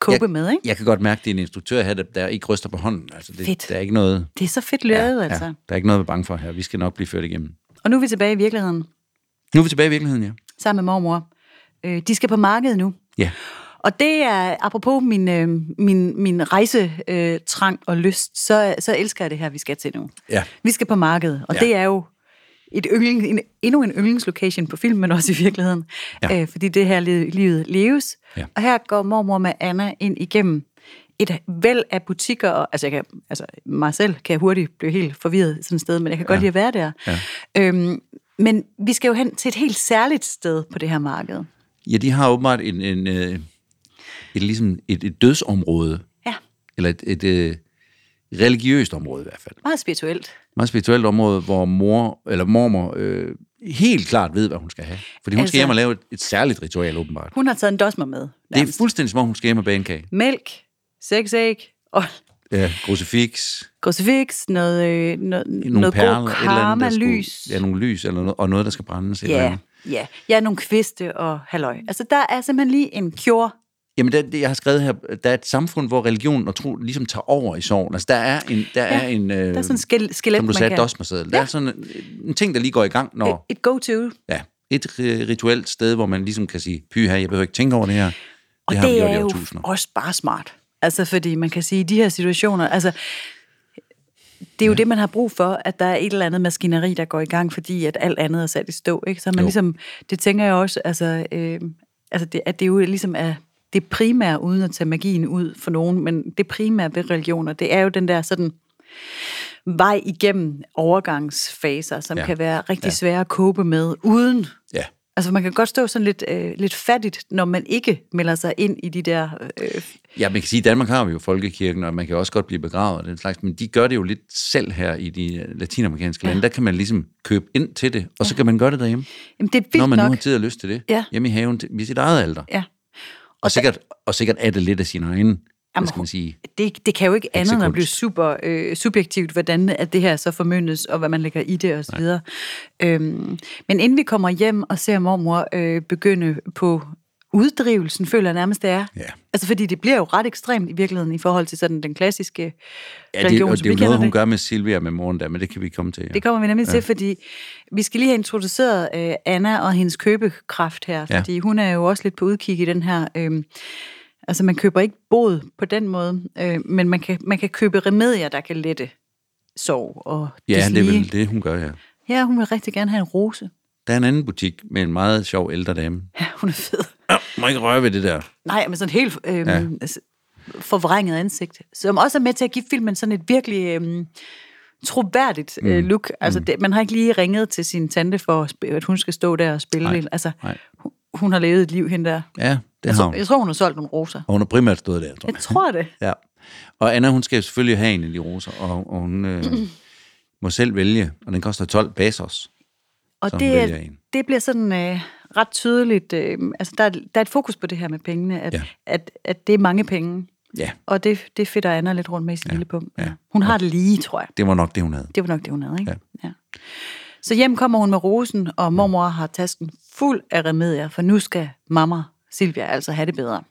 Speaker 2: kåbe
Speaker 1: jeg,
Speaker 2: med, ikke?
Speaker 1: Jeg kan godt mærke, at det er en instruktør her, der, der ikke ryster på hånden. Altså, det,
Speaker 2: Fedt.
Speaker 1: Der er ikke noget...
Speaker 2: Det er så fedt lavet, ja, altså.
Speaker 1: Ja, der er ikke noget, vi er bange for her. Vi skal nok blive ført igennem.
Speaker 2: Og nu er vi tilbage i virkeligheden,
Speaker 1: Nu er vi tilbage i virkeligheden, ja.
Speaker 2: sammen med mormor. Øh, de skal på markedet nu.
Speaker 1: Ja,
Speaker 2: Og det er, apropos min, øh, min, min rejsetrang øh, trang og lyst, så, så elsker jeg det her, vi skal til nu.
Speaker 1: ja.
Speaker 2: Vi skal på markedet, og
Speaker 1: Ja.
Speaker 2: ja. det er jo et yndling, en, endnu en yndlingslocation på film, men også i virkeligheden,
Speaker 1: Ja.
Speaker 2: ja. øh, fordi det her livet, livet leves.
Speaker 1: Ja.
Speaker 2: Og her går mormor med Anna ind igennem et væld af butikker, og, altså, jeg kan, altså mig selv kan jeg hurtigt blive helt forvirret sådan et sted, men jeg kan godt lide at være der.
Speaker 1: Ja.
Speaker 2: Øhm, men vi skal jo hen til et helt særligt sted på det her marked.
Speaker 1: Ja, de har åbenbart en, en, øh, et, ligesom et, et dødsområde,
Speaker 2: Ja,
Speaker 1: eller et, et øh, religiøst område i hvert fald.
Speaker 2: meget spirituelt.
Speaker 1: Meget spirituelt område, hvor mor eller mormor øh, helt klart ved, hvad hun skal have. Fordi hun altså,
Speaker 2: Altså-
Speaker 1: skal hjem og lave et, et særligt ritual, åbenbart.
Speaker 2: Hun har taget en dosmer med.
Speaker 1: Det er
Speaker 2: nærmest.
Speaker 1: fuldstændig som om, hun skal hjem og bage en kage.
Speaker 2: Mælk, seks æg, og
Speaker 1: Ja, crucifix,
Speaker 2: krucifix, noget, øh, noget,
Speaker 1: nogle
Speaker 2: noget
Speaker 1: perler,
Speaker 2: god
Speaker 1: et eller andet, der skulle,
Speaker 2: karma-lys.
Speaker 1: Ja, nogle lys, eller noget, og noget, der skal brændes. et Eller
Speaker 2: Ja,
Speaker 1: andet.
Speaker 2: ja. Jeg er nogle kviste og halløj. Altså, der er simpelthen lige en cure.
Speaker 1: Jamen, der, det, jeg har skrevet her, der er et samfund, hvor religion og tro ligesom tager over i sorgen. Altså, der er en... Der, ja, er, en, øh,
Speaker 2: Der er sådan en skelet, skelet
Speaker 1: som du
Speaker 2: man
Speaker 1: sagde,
Speaker 2: kan...
Speaker 1: dosmerseddel. Ja. Der er sådan en, en ting, der lige går i gang, når...
Speaker 2: Et, et go-to.
Speaker 1: Ja, et ri- rituelt sted, hvor man ligesom kan sige, pyha, jeg behøver ikke tænke over det her.
Speaker 2: Og
Speaker 1: har
Speaker 2: det,
Speaker 1: vi
Speaker 2: det
Speaker 1: gjort i
Speaker 2: er jo
Speaker 1: årtusinder.
Speaker 2: også bare smart. Altså, fordi man kan sige, i de her situationer, altså, det er jo ja. det, man har brug for, at der er et eller andet maskineri, der går i gang, fordi at alt andet er sat i stå, ikke? Så man
Speaker 1: Jo.
Speaker 2: jo. ligesom, det tænker jeg også, altså, øh, altså det, at det jo ligesom er det primære, uden at tage magien ud for nogen, men det primære ved religioner, det er jo den der sådan vej igennem overgangsfaser, som
Speaker 1: Ja.
Speaker 2: ja. kan være rigtig ja. svære at kåbe med, uden
Speaker 1: Ja.
Speaker 2: Altså, man kan godt stå sådan lidt, øh, lidt fattigt, når man ikke melder sig ind i de der... Øh,
Speaker 1: ja, man kan sige, i Danmark har vi jo folkekirken, og man kan også godt blive begravet og den slags, men de gør det jo lidt selv her i de øh, latinamerikanske lande. Der kan man ligesom købe ind til det, og så kan man gøre det derhjemme,
Speaker 2: jamen, det er
Speaker 1: når
Speaker 2: vildt
Speaker 1: man nu
Speaker 2: nok.
Speaker 1: har tid og lyst til det.
Speaker 2: Ja.
Speaker 1: Hjemme i haven til, ved sit eget alder.
Speaker 2: Ja.
Speaker 1: Og sikkert, og sikkert er det lidt af sin egen, hvad
Speaker 2: Jamen,
Speaker 1: skal man sige.
Speaker 2: Det, det kan jo ikke andet end at
Speaker 1: Heksekunst.
Speaker 2: blive super øh, subjektivt, hvordan at det her så formyndes, og hvad man lægger i det osv. Øhm, men inden vi kommer hjem og ser mormor øh, begynde på uddrivelsen, føler jeg nærmest, det er.
Speaker 1: Ja.
Speaker 2: Altså, fordi det bliver jo ret ekstremt i virkeligheden i forhold til sådan den klassiske
Speaker 1: Ja, det,
Speaker 2: religion,
Speaker 1: og
Speaker 2: som
Speaker 1: det er
Speaker 2: vi
Speaker 1: jo
Speaker 2: kender
Speaker 1: noget, hun
Speaker 2: det.
Speaker 1: gør med Silvia og med moren der, men det kan vi komme til. Ja.
Speaker 2: Det kommer vi nemlig ja. til, fordi vi skal lige have introduceret øh, Anna og hendes købekraft her,
Speaker 1: Ja.
Speaker 2: fordi hun er jo også lidt på udkig i den her... Øh, altså, man køber ikke bod på den måde, øh, men man kan, man kan købe remedier, der kan lette sorg og
Speaker 1: ja, det er
Speaker 2: deslige.
Speaker 1: vel det, hun gør, ja.
Speaker 2: Ja, hun vil rigtig gerne have en rose.
Speaker 1: Der er en anden butik med en meget sjov ældre dame.
Speaker 2: Ja, hun er fed.
Speaker 1: Må ikke røre ved det der.
Speaker 2: Nej, men sådan helt øh,
Speaker 1: Ja.
Speaker 2: ja. forvrænget ansigt, som også er med til at give filmen sådan et virkelig... Øh, troværdigt øh,
Speaker 1: Mm.
Speaker 2: look. Altså, det, man har ikke lige ringet til sin tante for, at sp- at hun skal stå der og spille.
Speaker 1: Nej,
Speaker 2: Nej, altså,
Speaker 1: nej.
Speaker 2: Hun, hun har levet et liv hende der.
Speaker 1: Ja, det har
Speaker 2: Så,
Speaker 1: hun.
Speaker 2: Altså, jeg tror, hun har solgt nogle roser.
Speaker 1: Og hun har primært stået der, tror
Speaker 2: Jeg
Speaker 1: jeg.
Speaker 2: tror det.
Speaker 1: Ja. Og Anna, hun skal selvfølgelig have en af de roser, og, og hun øh, må selv vælge, og den koster 12 pesos.
Speaker 2: Og
Speaker 1: Så hun
Speaker 2: det,
Speaker 1: vælger
Speaker 2: er,
Speaker 1: en.
Speaker 2: det bliver sådan øh, ret tydeligt. Øh, altså, der er, der er et fokus på det her med pengene, at,
Speaker 1: Ja.
Speaker 2: ja. at, at det er mange penge.
Speaker 1: Ja,
Speaker 2: Og det, det fedter Anna lidt rundt med i sin ja. lille pump.
Speaker 1: ja.
Speaker 2: Hun har det lige, tror jeg.
Speaker 1: det var nok det, hun havde.
Speaker 2: Det var nok det, hun havde, ikke? Ja. ja. Så hjem kommer hun med rosen, og mormor har tasken fuld af remedier, for nu skal mamma Silvia altså have det bedre.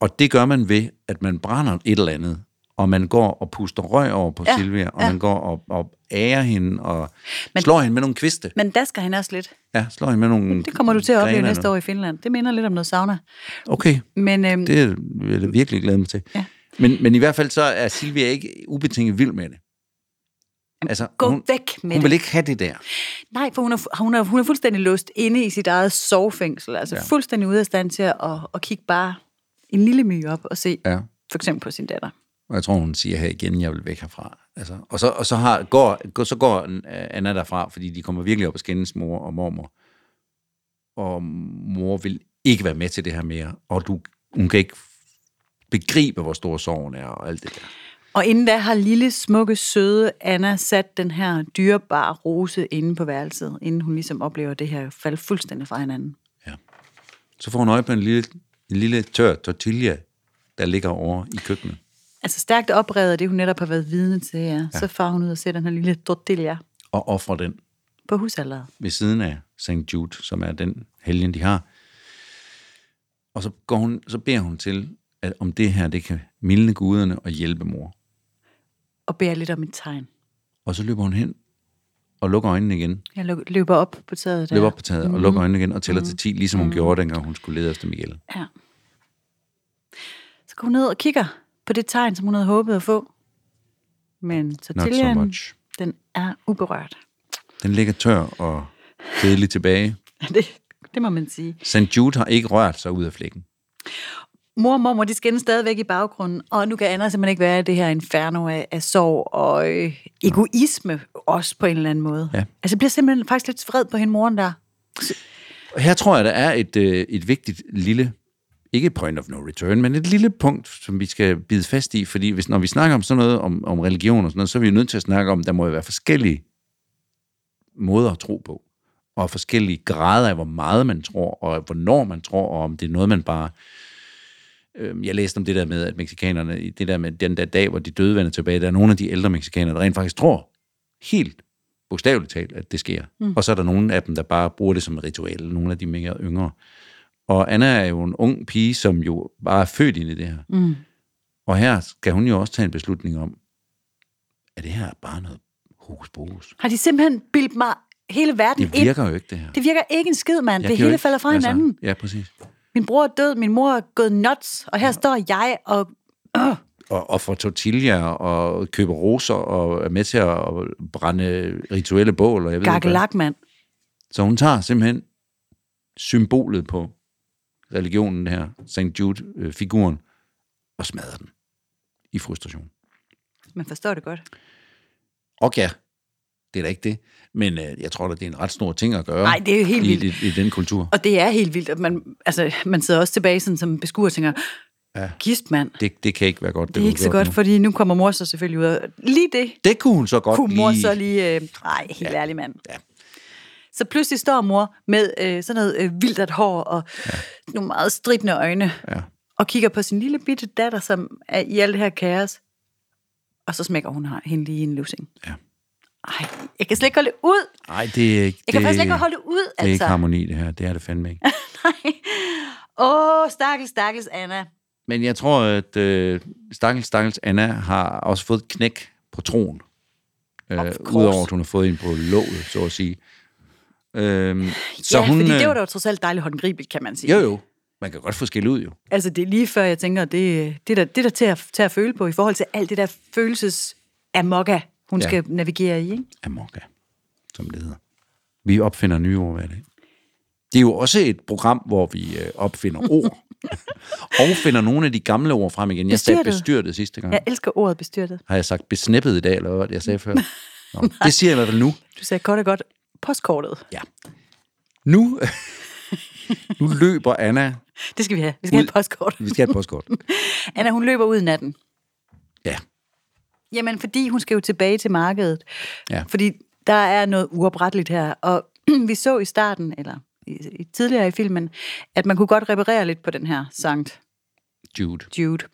Speaker 1: Og det gør man ved, at man brænder et eller andet, og man går og puster røg over på ja,
Speaker 2: Ja,
Speaker 1: Silvia, og ja.
Speaker 2: ja.
Speaker 1: man går og, og ærer hende, og Men,
Speaker 2: Men-
Speaker 1: slår hende med nogle kviste.
Speaker 2: Men der skal hende også lidt.
Speaker 1: Ja, slår hende med nogle
Speaker 2: Det kommer du til at opleve
Speaker 1: grener
Speaker 2: næste
Speaker 1: nu.
Speaker 2: år i Finland. Det minder lidt om noget sauna.
Speaker 1: Okay,
Speaker 2: Men øhm,
Speaker 1: det vil jeg virkelig glæde mig til.
Speaker 2: Ja.
Speaker 1: Men, men i hvert fald så er Silvia ikke ubetinget vild med det. Altså,
Speaker 2: Gå
Speaker 1: hun,
Speaker 2: væk med
Speaker 1: hun
Speaker 2: det.
Speaker 1: vil ikke have det der.
Speaker 2: Nej, for hun er, fu- hun, er, hun er fuldstændig låst inde i sit eget sovefængsel. Altså
Speaker 1: Ja.
Speaker 2: ja. fuldstændig ude af stand til at, at, at kigge bare en lille my op og se
Speaker 1: Ja.
Speaker 2: for eksempel på sin datter.
Speaker 1: Og jeg tror, hun siger her igen, jeg vil væk herfra. Altså, og så, og så, har, går, går- så går øh, Anna derfra, fordi de kommer virkelig op og skændes mor og mormor. Og mor vil ikke være med til det her mere, og du, hun kan ikke begribe, hvor stor sorgen er og alt det der.
Speaker 2: Og inden da har lille, smukke, søde Anna sat den her dyrebare rose inde på værelset, inden hun ligesom oplever det her falde fuldstændig fra hinanden.
Speaker 1: Så får hun øje på en lille, en lille tør tortilla, der ligger over i køkkenet.
Speaker 2: Altså stærkt oprevet af det, hun netop har været vidne til, ja. ja. så far hun ud og ser den her lille tortilla
Speaker 1: Og offrer den
Speaker 2: på husalderet.
Speaker 1: ved siden af St. Jude, som er den helgen, de har. Og så, går hun, så beder hun til, at om det her, det kan mildne guderne og hjælpe mor.
Speaker 2: Og beder lidt om et tegn.
Speaker 1: Og så løber hun hen og lukker øjnene igen.
Speaker 2: Jeg luk- løber op på taget der.
Speaker 1: Løber op på taget og lukker øjnene igen og tæller til 10, ligesom hun gjorde, dengang hun skulle lede efter Miguel.
Speaker 2: Ja. Så går hun ned og kigger på det tegn, som hun havde håbet at få. Men
Speaker 1: Not so
Speaker 2: tortillaen,
Speaker 1: much.
Speaker 2: den er uberørt.
Speaker 1: Den ligger tør og kedelig tilbage.
Speaker 2: Det, det må man sige.
Speaker 1: St. Jude har ikke rørt sig ud af flækken.
Speaker 2: Mor og mormor, de skændes stadigvæk i baggrunden, og nu kan Anna simpelthen ikke være i det her inferno af, af sorg og øh, egoisme, også på en eller anden måde.
Speaker 1: Ja.
Speaker 2: Altså, jeg bliver simpelthen faktisk lidt vred på hende moren der.
Speaker 1: Og her tror jeg, der er et, øh, et vigtigt lille, ikke point of no return, men et lille punkt, som vi skal bide fast i, fordi hvis, når vi snakker om sådan noget, om, om religion og sådan noget, så er vi jo nødt til at snakke om, der må jo være forskellige måder at tro på, og forskellige grader af, hvor meget man tror, og hvornår man tror, og om det er noget, man bare... Øhm, Jeg læste om det der med, at mexikanerne, i det der med den der dag, hvor de døde vender tilbage, der er nogle af de ældre mexikanere, der rent faktisk tror helt bogstaveligt talt, at det sker. Mm. Og så er der nogle af dem, der bare bruger det som et ritual, nogle af de mere yngre. Og Anna er jo en ung pige, som jo bare er født ind i det her.
Speaker 2: Mm.
Speaker 1: Og her skal hun jo også tage en beslutning om, at det her er bare noget hokus pokus.
Speaker 2: Har de simpelthen bildt mig hele verden
Speaker 1: Det virker jo ikke, det her.
Speaker 2: ind? Det virker ikke en skid, mand.
Speaker 1: Jeg
Speaker 2: Det
Speaker 1: kan jo
Speaker 2: hele
Speaker 1: ikke- Altså.
Speaker 2: falder fra hinanden.
Speaker 1: Ja, præcis.
Speaker 2: Min bror er død, min mor er gået nuts, og her står jeg og... Øh,
Speaker 1: Og, og får tortilla og køber roser og er med til at brænde rituelle bål. Og jeg ved ikke hvad.
Speaker 2: gakkelak, mand.
Speaker 1: Så hun tager simpelthen symbolet på religionen her, St. Jude-figuren, og smadrer den i frustration.
Speaker 2: Man forstår det godt.
Speaker 1: Og ja, det er da ikke det, men øh, jeg tror da, det er en ret stor ting at gøre
Speaker 2: Nej, det er jo helt
Speaker 1: i,
Speaker 2: vildt.
Speaker 1: i, i den kultur.
Speaker 2: Og det er helt vildt, at man, altså, man sidder også tilbage sådan, som beskuer og tænker,
Speaker 1: Ja.
Speaker 2: ja. gist mand, det,
Speaker 1: Det, det kan ikke være godt.
Speaker 2: det er
Speaker 1: hun
Speaker 2: ikke så
Speaker 1: gjorde
Speaker 2: godt,
Speaker 1: nu.
Speaker 2: fordi nu kommer mor så selvfølgelig ud. Og lige det
Speaker 1: Det kunne hun så godt
Speaker 2: kunne
Speaker 1: lige...
Speaker 2: mor så lige... Øh, nej, helt ja. ærlig mand.
Speaker 1: Ja.
Speaker 2: Så pludselig står mor med øh, sådan noget øh, vildt at hår og ja. nogle meget stridende øjne,
Speaker 1: Ja.
Speaker 2: og kigger på sin lille bitte datter, som er i alt det her kaos, og så smækker hun her- hende lige i en løsning.
Speaker 1: Ja.
Speaker 2: Ej, jeg kan slet ikke holde det ud.
Speaker 1: Nej, det er ikke...
Speaker 2: Jeg kan
Speaker 1: det,
Speaker 2: faktisk slet ikke holde det ud,
Speaker 1: Det er ikke
Speaker 2: altså.
Speaker 1: harmoni, det her. Det er det fandme ikke.
Speaker 2: Nej. Åh, stakkels, stakkels Anna.
Speaker 1: Men jeg tror, at øh, Stakkels Stakkels Anna har også fået et knæk på troen. Øh,
Speaker 2: course.
Speaker 1: Udover at hun har fået en på låget, så at sige. Øhm, så
Speaker 2: ja,
Speaker 1: hun,
Speaker 2: fordi det var
Speaker 1: øh,
Speaker 2: da jo trods alt dejligt håndgribeligt, kan man sige.
Speaker 1: Jo, jo. Man kan godt få skilt ud, jo.
Speaker 2: Altså, det er lige før, jeg tænker, det, det er der, det er der til, at, til at føle på i forhold til alt det der følelses amokka, hun
Speaker 1: Ja.
Speaker 2: ja. skal navigere i. Ikke?
Speaker 1: Amorka, som det hedder. Vi opfinder nye ord hver dag. Det er jo også et program, hvor vi øh, opfinder ord. og finder nogle af de gamle ord frem igen. Jeg sagde
Speaker 2: Bestyrtet.
Speaker 1: bestyrtet sidste gang. Ja.
Speaker 2: Jeg elsker ordet bestyrtet.
Speaker 1: Har jeg sagt besnippet i dag, eller hvad var det, jeg sagde før? Nå, det siger jeg i hvert fald nu.
Speaker 2: Du sagde kort og godt, postkortet.
Speaker 1: Ja. Nu, nu løber Anna.
Speaker 2: Det skal vi have. Vi skal have
Speaker 1: Ud.
Speaker 2: et postkort.
Speaker 1: Vi skal have et postkort.
Speaker 2: Anna, hun løber ud i natten.
Speaker 1: Ja.
Speaker 2: Jamen, fordi hun skal jo tilbage til markedet.
Speaker 1: Ja.
Speaker 2: Fordi der er noget uopretteligt her. Og vi så i starten, eller i, i, tidligere i filmen, at man kunne godt reparere lidt på den her sankt
Speaker 1: Jude.
Speaker 2: Jude.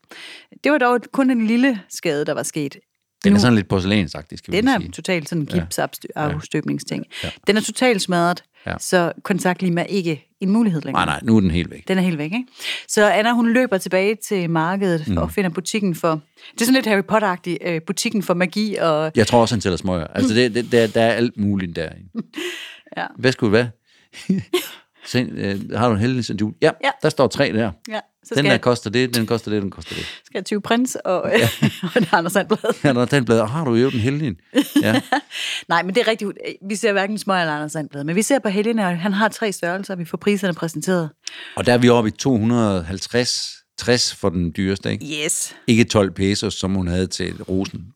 Speaker 2: Det var dog kun en lille skade, der var sket.
Speaker 1: Den er
Speaker 2: Nu-
Speaker 1: sådan lidt porcelænsagtig, skal vi
Speaker 2: Den
Speaker 1: lige
Speaker 2: er
Speaker 1: sige.
Speaker 2: totalt sådan en
Speaker 1: Ja.
Speaker 2: gipsafstøbningsting.
Speaker 1: Ja.
Speaker 2: Ja. Den er totalt smadret,
Speaker 1: Ja.
Speaker 2: ja. så kontaktlim er ikke en mulighed længere.
Speaker 1: Nej, Ah, nej, nu er den helt væk.
Speaker 2: Den er helt væk, ikke? Så Anna, hun løber tilbage til markedet mm. og finder butikken for... Det er sådan lidt Harry Potter-agtigt, øh, butikken for magi og...
Speaker 1: Jeg tror også, han tæller smøger. Altså, det, det, der, der er alt muligt derinde.
Speaker 2: Ja.
Speaker 1: Hvad skulle det være? Se, øh, har du en heldig Sankt Jul? Ja, ja,
Speaker 2: Ja.
Speaker 1: der står tre der.
Speaker 2: Ja, så
Speaker 1: Den
Speaker 2: skal,
Speaker 1: der
Speaker 2: jeg,
Speaker 1: koster det, den koster det, den koster det.
Speaker 2: skal jeg 20 prins og, ja. og en Anders Sandblad.
Speaker 1: Ja, der er den blad. Har du jo den heldige? Ja.
Speaker 2: Nej, men det er rigtigt. Vi ser hverken smøg eller Anders Sandblad, men vi ser på Helene, og han har tre størrelser, og vi får priserne præsenteret.
Speaker 1: Og der er vi oppe i 250 60 for den dyreste, ikke?
Speaker 2: Yes.
Speaker 1: Ikke 12 pesos, som hun havde til rosen.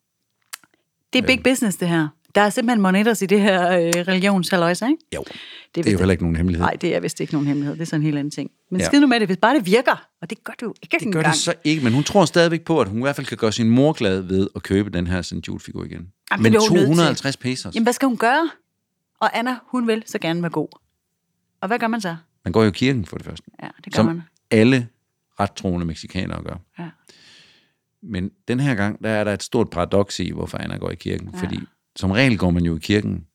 Speaker 2: Det er big business, det her. Der er simpelthen monetters i det her øh, religionshalløjse, ikke?
Speaker 1: Jo,
Speaker 2: Det
Speaker 1: det er jo heller ikke nogen hemmelighed.
Speaker 2: Nej, det er vist ikke nogen hemmelighed. Det er sådan en helt anden ting. Men
Speaker 1: Ja.
Speaker 2: ja. skid nu med det, hvis bare det virker. Og det gør det jo ikke
Speaker 1: Det gør
Speaker 2: engang.
Speaker 1: det så ikke, men hun tror stadigvæk på, at hun i hvert fald kan gøre sin mor glad ved at købe den her St. Jude-figur igen.
Speaker 2: det
Speaker 1: men
Speaker 2: bliver hun nødt til.
Speaker 1: 250 pesos.
Speaker 2: Jamen, hvad skal hun gøre? Og Anna, hun vil så gerne være god. Og hvad gør man så?
Speaker 1: Man går jo i kirken for det første.
Speaker 2: Ja, det gør
Speaker 1: Som
Speaker 2: Som... man.
Speaker 1: alle ret troende mexikanere gør.
Speaker 2: Ja.
Speaker 1: Men den her gang, der er der et stort paradoks i, hvorfor Anna går i kirken. Ja. Fordi som regel går man jo i kirken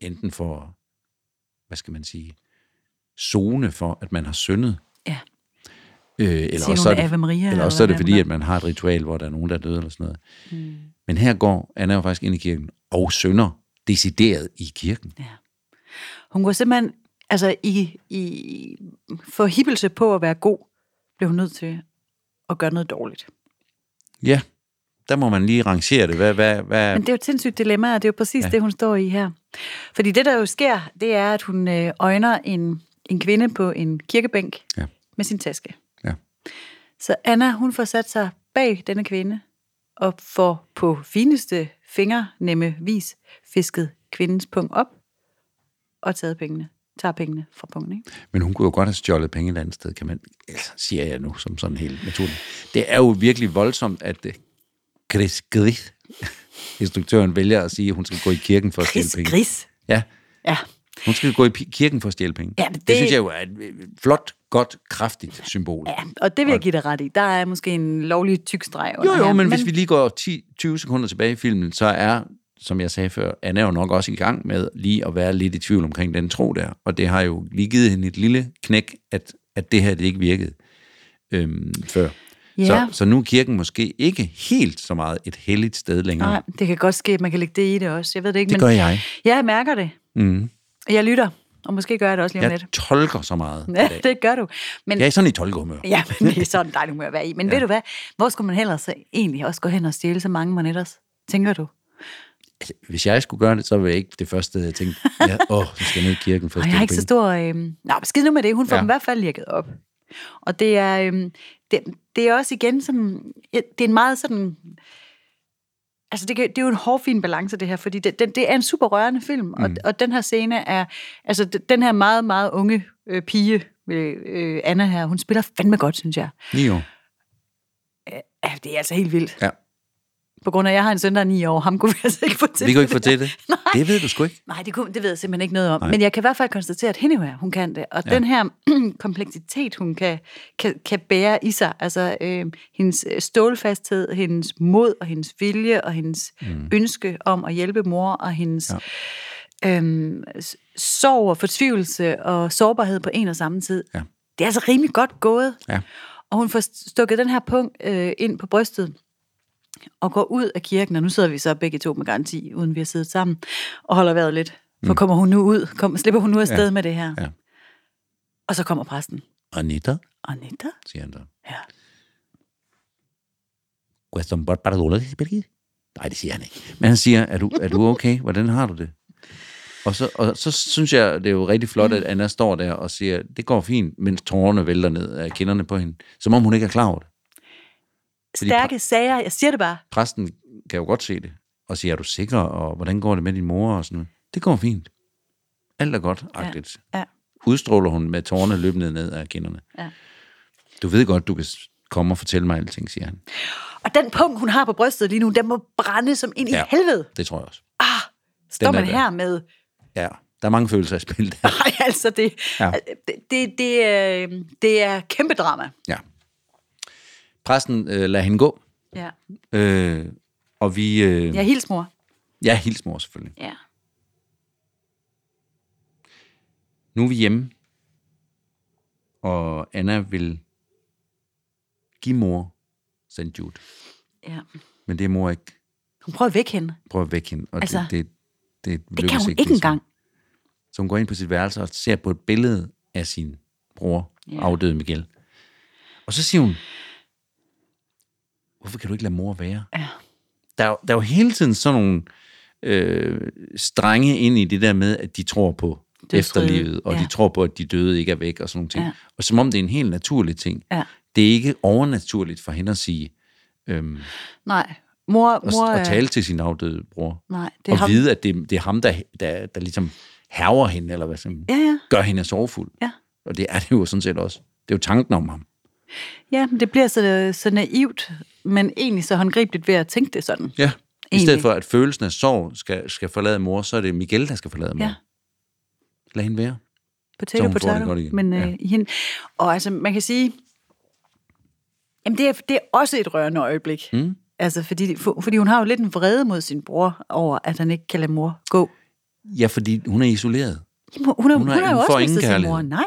Speaker 1: enten for, hvad skal man sige, zone for, at man har syndet.
Speaker 2: Ja.
Speaker 1: Øh, eller
Speaker 2: Siger
Speaker 1: også så er
Speaker 2: nogle
Speaker 1: det,
Speaker 2: Ave Maria.
Speaker 1: eller også så er det
Speaker 2: hvad
Speaker 1: fordi,
Speaker 2: man-
Speaker 1: at man har et ritual, hvor der er nogen, der er døde eller sådan noget. Mm. Men her går Anna jo faktisk ind i kirken og synder decideret i kirken.
Speaker 2: Hun går simpelthen altså, i, i forhibbelse på at være god, blev hun nødt til at gøre noget dårligt.
Speaker 1: Ja, der må man lige rangere det. Hvad, hvad, hvad,
Speaker 2: Men det er jo et sindssygt dilemma, og det er jo præcis ja. det, hun står i her. Fordi det, der jo sker, det er, at hun øh, øjner en, en kvinde på en kirkebænk
Speaker 1: Ja.
Speaker 2: med sin taske.
Speaker 1: Ja.
Speaker 2: Så Anna, hun får sat sig bag denne kvinde, og får på fineste fingernemme vis fisket kvindens pung op, og taget pengene. Tager pengene fra pungen, ikke?
Speaker 1: Men hun kunne jo godt have stjålet penge et andet sted, kan man, altså, siger jeg nu, som sådan helt naturligt. Det er jo virkelig voldsomt, at øh, Chris Gris, instruktøren, vælger at sige, at hun skal gå i kirken for at stjæle
Speaker 2: Gris,
Speaker 1: penge.
Speaker 2: gris.
Speaker 1: Ja,
Speaker 2: Ja,
Speaker 1: hun skal gå i pi- kirken for at stjæle penge.
Speaker 2: Ja, men
Speaker 1: det
Speaker 2: det-
Speaker 1: synes jeg jo er et øh, flot, godt, kraftigt symbol.
Speaker 2: ja, og det vil jeg give dig ret i. Der er måske en lovlig tyk streg under
Speaker 1: Jo, jo,
Speaker 2: her,
Speaker 1: men, men hvis vi lige går 10, 20 sekunder tilbage i filmen, så er, som jeg sagde før, Anna jo nok også i gang med lige at være lidt i tvivl omkring den tro der. Og det har jo lige givet hende et lille knæk, at, at det her det ikke virkede øhm, før.
Speaker 2: Ja.
Speaker 1: Så, så nu er kirken måske ikke helt så meget et helligt sted længere.
Speaker 2: Nej, det kan godt ske, at man kan lægge det i det også. Jeg ved det ikke,
Speaker 1: Det
Speaker 2: men
Speaker 1: gør jeg.
Speaker 2: Ja, jeg mærker det.
Speaker 1: Mm.
Speaker 2: Jeg lytter, og måske gør jeg det også lige om
Speaker 1: Jeg
Speaker 2: lidt.
Speaker 1: tolker så meget. i
Speaker 2: Ja,
Speaker 1: dag.
Speaker 2: det gør du. Men,
Speaker 1: Jeg
Speaker 2: ja.
Speaker 1: er sådan i tolkehumør.
Speaker 2: ja, men det er sådan dejligt humør at være i. Men ja. ved du hvad, hvor skulle man ellers så egentlig også gå hen og stjæle så mange monetters, tænker du?
Speaker 1: Altså, Hvis jeg skulle gøre det, så ville jeg ikke det første sted, jeg tænkte, ja, åh, nu skal jeg ned i kirken for at
Speaker 2: Og jeg har
Speaker 1: stjæle
Speaker 2: ikke så
Speaker 1: penge.
Speaker 2: stor... Øh... Nå, men skid nu med det. Hun
Speaker 1: Ja.
Speaker 2: får ja. dem i hvert fald lækket op. Og det er, øh... det, det er også igen sådan... Det er en meget sådan... Altså, det, kan, det er jo en hårfin balance, det her, fordi det, det, det er en super rørende film, mm. og, og den her scene er... Altså, d- den her meget, meget unge øh, pige, øh, øh, Anna her, hun spiller fandme godt, synes jeg.
Speaker 1: Ni år.
Speaker 2: Ja, det er altså helt vildt.
Speaker 1: Ja.
Speaker 2: På grund af, at jeg har en søn, der er 9 år, ham kunne vi altså ikke få til.
Speaker 1: Vi kan ikke få til det.
Speaker 2: Nej.
Speaker 1: Det ved du sgu ikke.
Speaker 2: Nej, det, kunne, det ved jeg simpelthen ikke noget om. Nej. Men jeg kan i hvert fald konstatere, at hende her, hun kan det. Og ja. den her kompleksitet, hun kan, kan, kan bære i sig, altså øh, hendes øh, stålfasthed, hendes mod og hendes vilje og hendes mm. ønske om at hjælpe mor og hendes ja. øh, sorg og fortvivlelse og sårbarhed på en og samme tid.
Speaker 1: Ja.
Speaker 2: Det er altså rimelig godt gået.
Speaker 1: Ja.
Speaker 2: Og hun får stukket den her punkt øh, ind på brystet og går ud af kirken, og nu sidder vi så begge to med garanti, uden vi har siddet sammen, og holder vejret lidt. For kommer hun nu ud? Kom, slipper hun nu afsted ja. med det her?
Speaker 1: Mm. Ja.
Speaker 2: Og så kommer præsten.
Speaker 1: Anita,
Speaker 2: Anita?
Speaker 1: siger han så.
Speaker 2: Ja.
Speaker 1: Questo un bel parole di perché? Nej, det siger han ikke. Men han siger, er du, er du okay? Hvordan har du det? Og så, og så synes jeg, det er jo rigtig flot, at Anna står der og siger, det går fint, mens tårerne vælter ned af kinderne på hende. Som om hun ikke er klar over det. Fordi
Speaker 2: Stærke sager, jeg siger det bare.
Speaker 1: Præsten kan jo godt se det. Og siger, er du sikker? Og hvordan går det med din mor? Og sådan noget. Det går fint. Alt er godt, agtigt.
Speaker 2: Ja.
Speaker 1: Udstråler hun med tårerne løbende ned af kinderne.
Speaker 2: Ja.
Speaker 1: Du ved godt, du kan s- komme og fortælle mig alting, siger han.
Speaker 2: Og den punkt, hun har på brystet lige nu, den må brænde som ind
Speaker 1: Ja.
Speaker 2: i helvede. Ah,
Speaker 1: Det tror jeg også.
Speaker 2: Står
Speaker 1: Den er
Speaker 2: man
Speaker 1: der.
Speaker 2: her med,
Speaker 1: Ja, der er mange følelser i spil der.
Speaker 2: nej, altså det,
Speaker 1: Ja.
Speaker 2: ja. det, det, det, er, øh, det er kæmpe drama.
Speaker 1: Ja. Præsten øh, lader hende gå,
Speaker 2: Ja.
Speaker 1: øh, og vi... Øh, ja.
Speaker 2: Jeg hils mor.
Speaker 1: ja, hils mor selvfølgelig.
Speaker 2: Ja.
Speaker 1: Nu er vi hjemme, og Anna vil give mor St. Jude.
Speaker 2: ja.
Speaker 1: Men det er mor ikke.
Speaker 2: Hun prøver at vække hende.
Speaker 1: Prøver at vække hende, og
Speaker 2: Altså,
Speaker 1: det, det, det,
Speaker 2: Det kan
Speaker 1: lykkes
Speaker 2: hun
Speaker 1: ikke
Speaker 2: ikke
Speaker 1: ligesom.
Speaker 2: engang.
Speaker 1: Så hun går ind på sit værelse og ser på et billede af sin bror,
Speaker 2: Ja.
Speaker 1: yeah. afdøde Miguel. Og så siger hun, hvorfor kan du ikke lade mor være?
Speaker 2: Ja.
Speaker 1: Der, er jo- der er jo hele tiden sådan nogle øh, strenge ind i det der med, at de tror på
Speaker 2: Dødsriget,
Speaker 1: efterlivet, og
Speaker 2: ja.
Speaker 1: de tror på, at de døde ikke er væk og sådan nogle ting.
Speaker 2: Ja.
Speaker 1: Og som om det er en helt naturlig ting.
Speaker 2: Ja.
Speaker 1: Det er ikke overnaturligt for hende at sige, øhm,
Speaker 2: Nej, mor...
Speaker 1: og,
Speaker 2: mor
Speaker 1: og
Speaker 2: er-
Speaker 1: tale til sin afdøde bror.
Speaker 2: Nej, det
Speaker 1: Det
Speaker 2: er
Speaker 1: og
Speaker 2: ham.
Speaker 1: vide, at det, det er ham, der, der, der ligesom herver hende, eller hvad sådan,
Speaker 2: Ja, ja.
Speaker 1: gør hende sorgfuld.
Speaker 2: Ja.
Speaker 1: Og det er det jo sådan set også. Det er jo tanken om ham.
Speaker 2: Ja, men det bliver så, så naivt, men egentlig så håndgribeligt ved at tænke det sådan.
Speaker 1: Ja. I
Speaker 2: Egentlig.
Speaker 1: stedet for, at følelsen af sorg skal, skal forlade mor, så er det Miguel, der skal forlade mor.
Speaker 2: Ja.
Speaker 1: Lad hende være. Så
Speaker 2: Potato,
Speaker 1: hun får det
Speaker 2: potato.
Speaker 1: godt igen.
Speaker 2: Men
Speaker 1: Ja.
Speaker 2: øh, i hende. Og altså, man kan sige, jamen det er, det er også et rørende øjeblik. Mm. Altså, fordi, for, fordi hun har jo lidt en vrede mod sin bror over, at han ikke kan lade mor gå.
Speaker 1: Ja, fordi hun er isoleret.
Speaker 2: Jamen, hun, hun, hun, hun,
Speaker 1: har-
Speaker 2: hun har jo
Speaker 1: hun får
Speaker 2: også
Speaker 1: ingen
Speaker 2: mistet sin
Speaker 1: kærlighed.
Speaker 2: mor. Nej,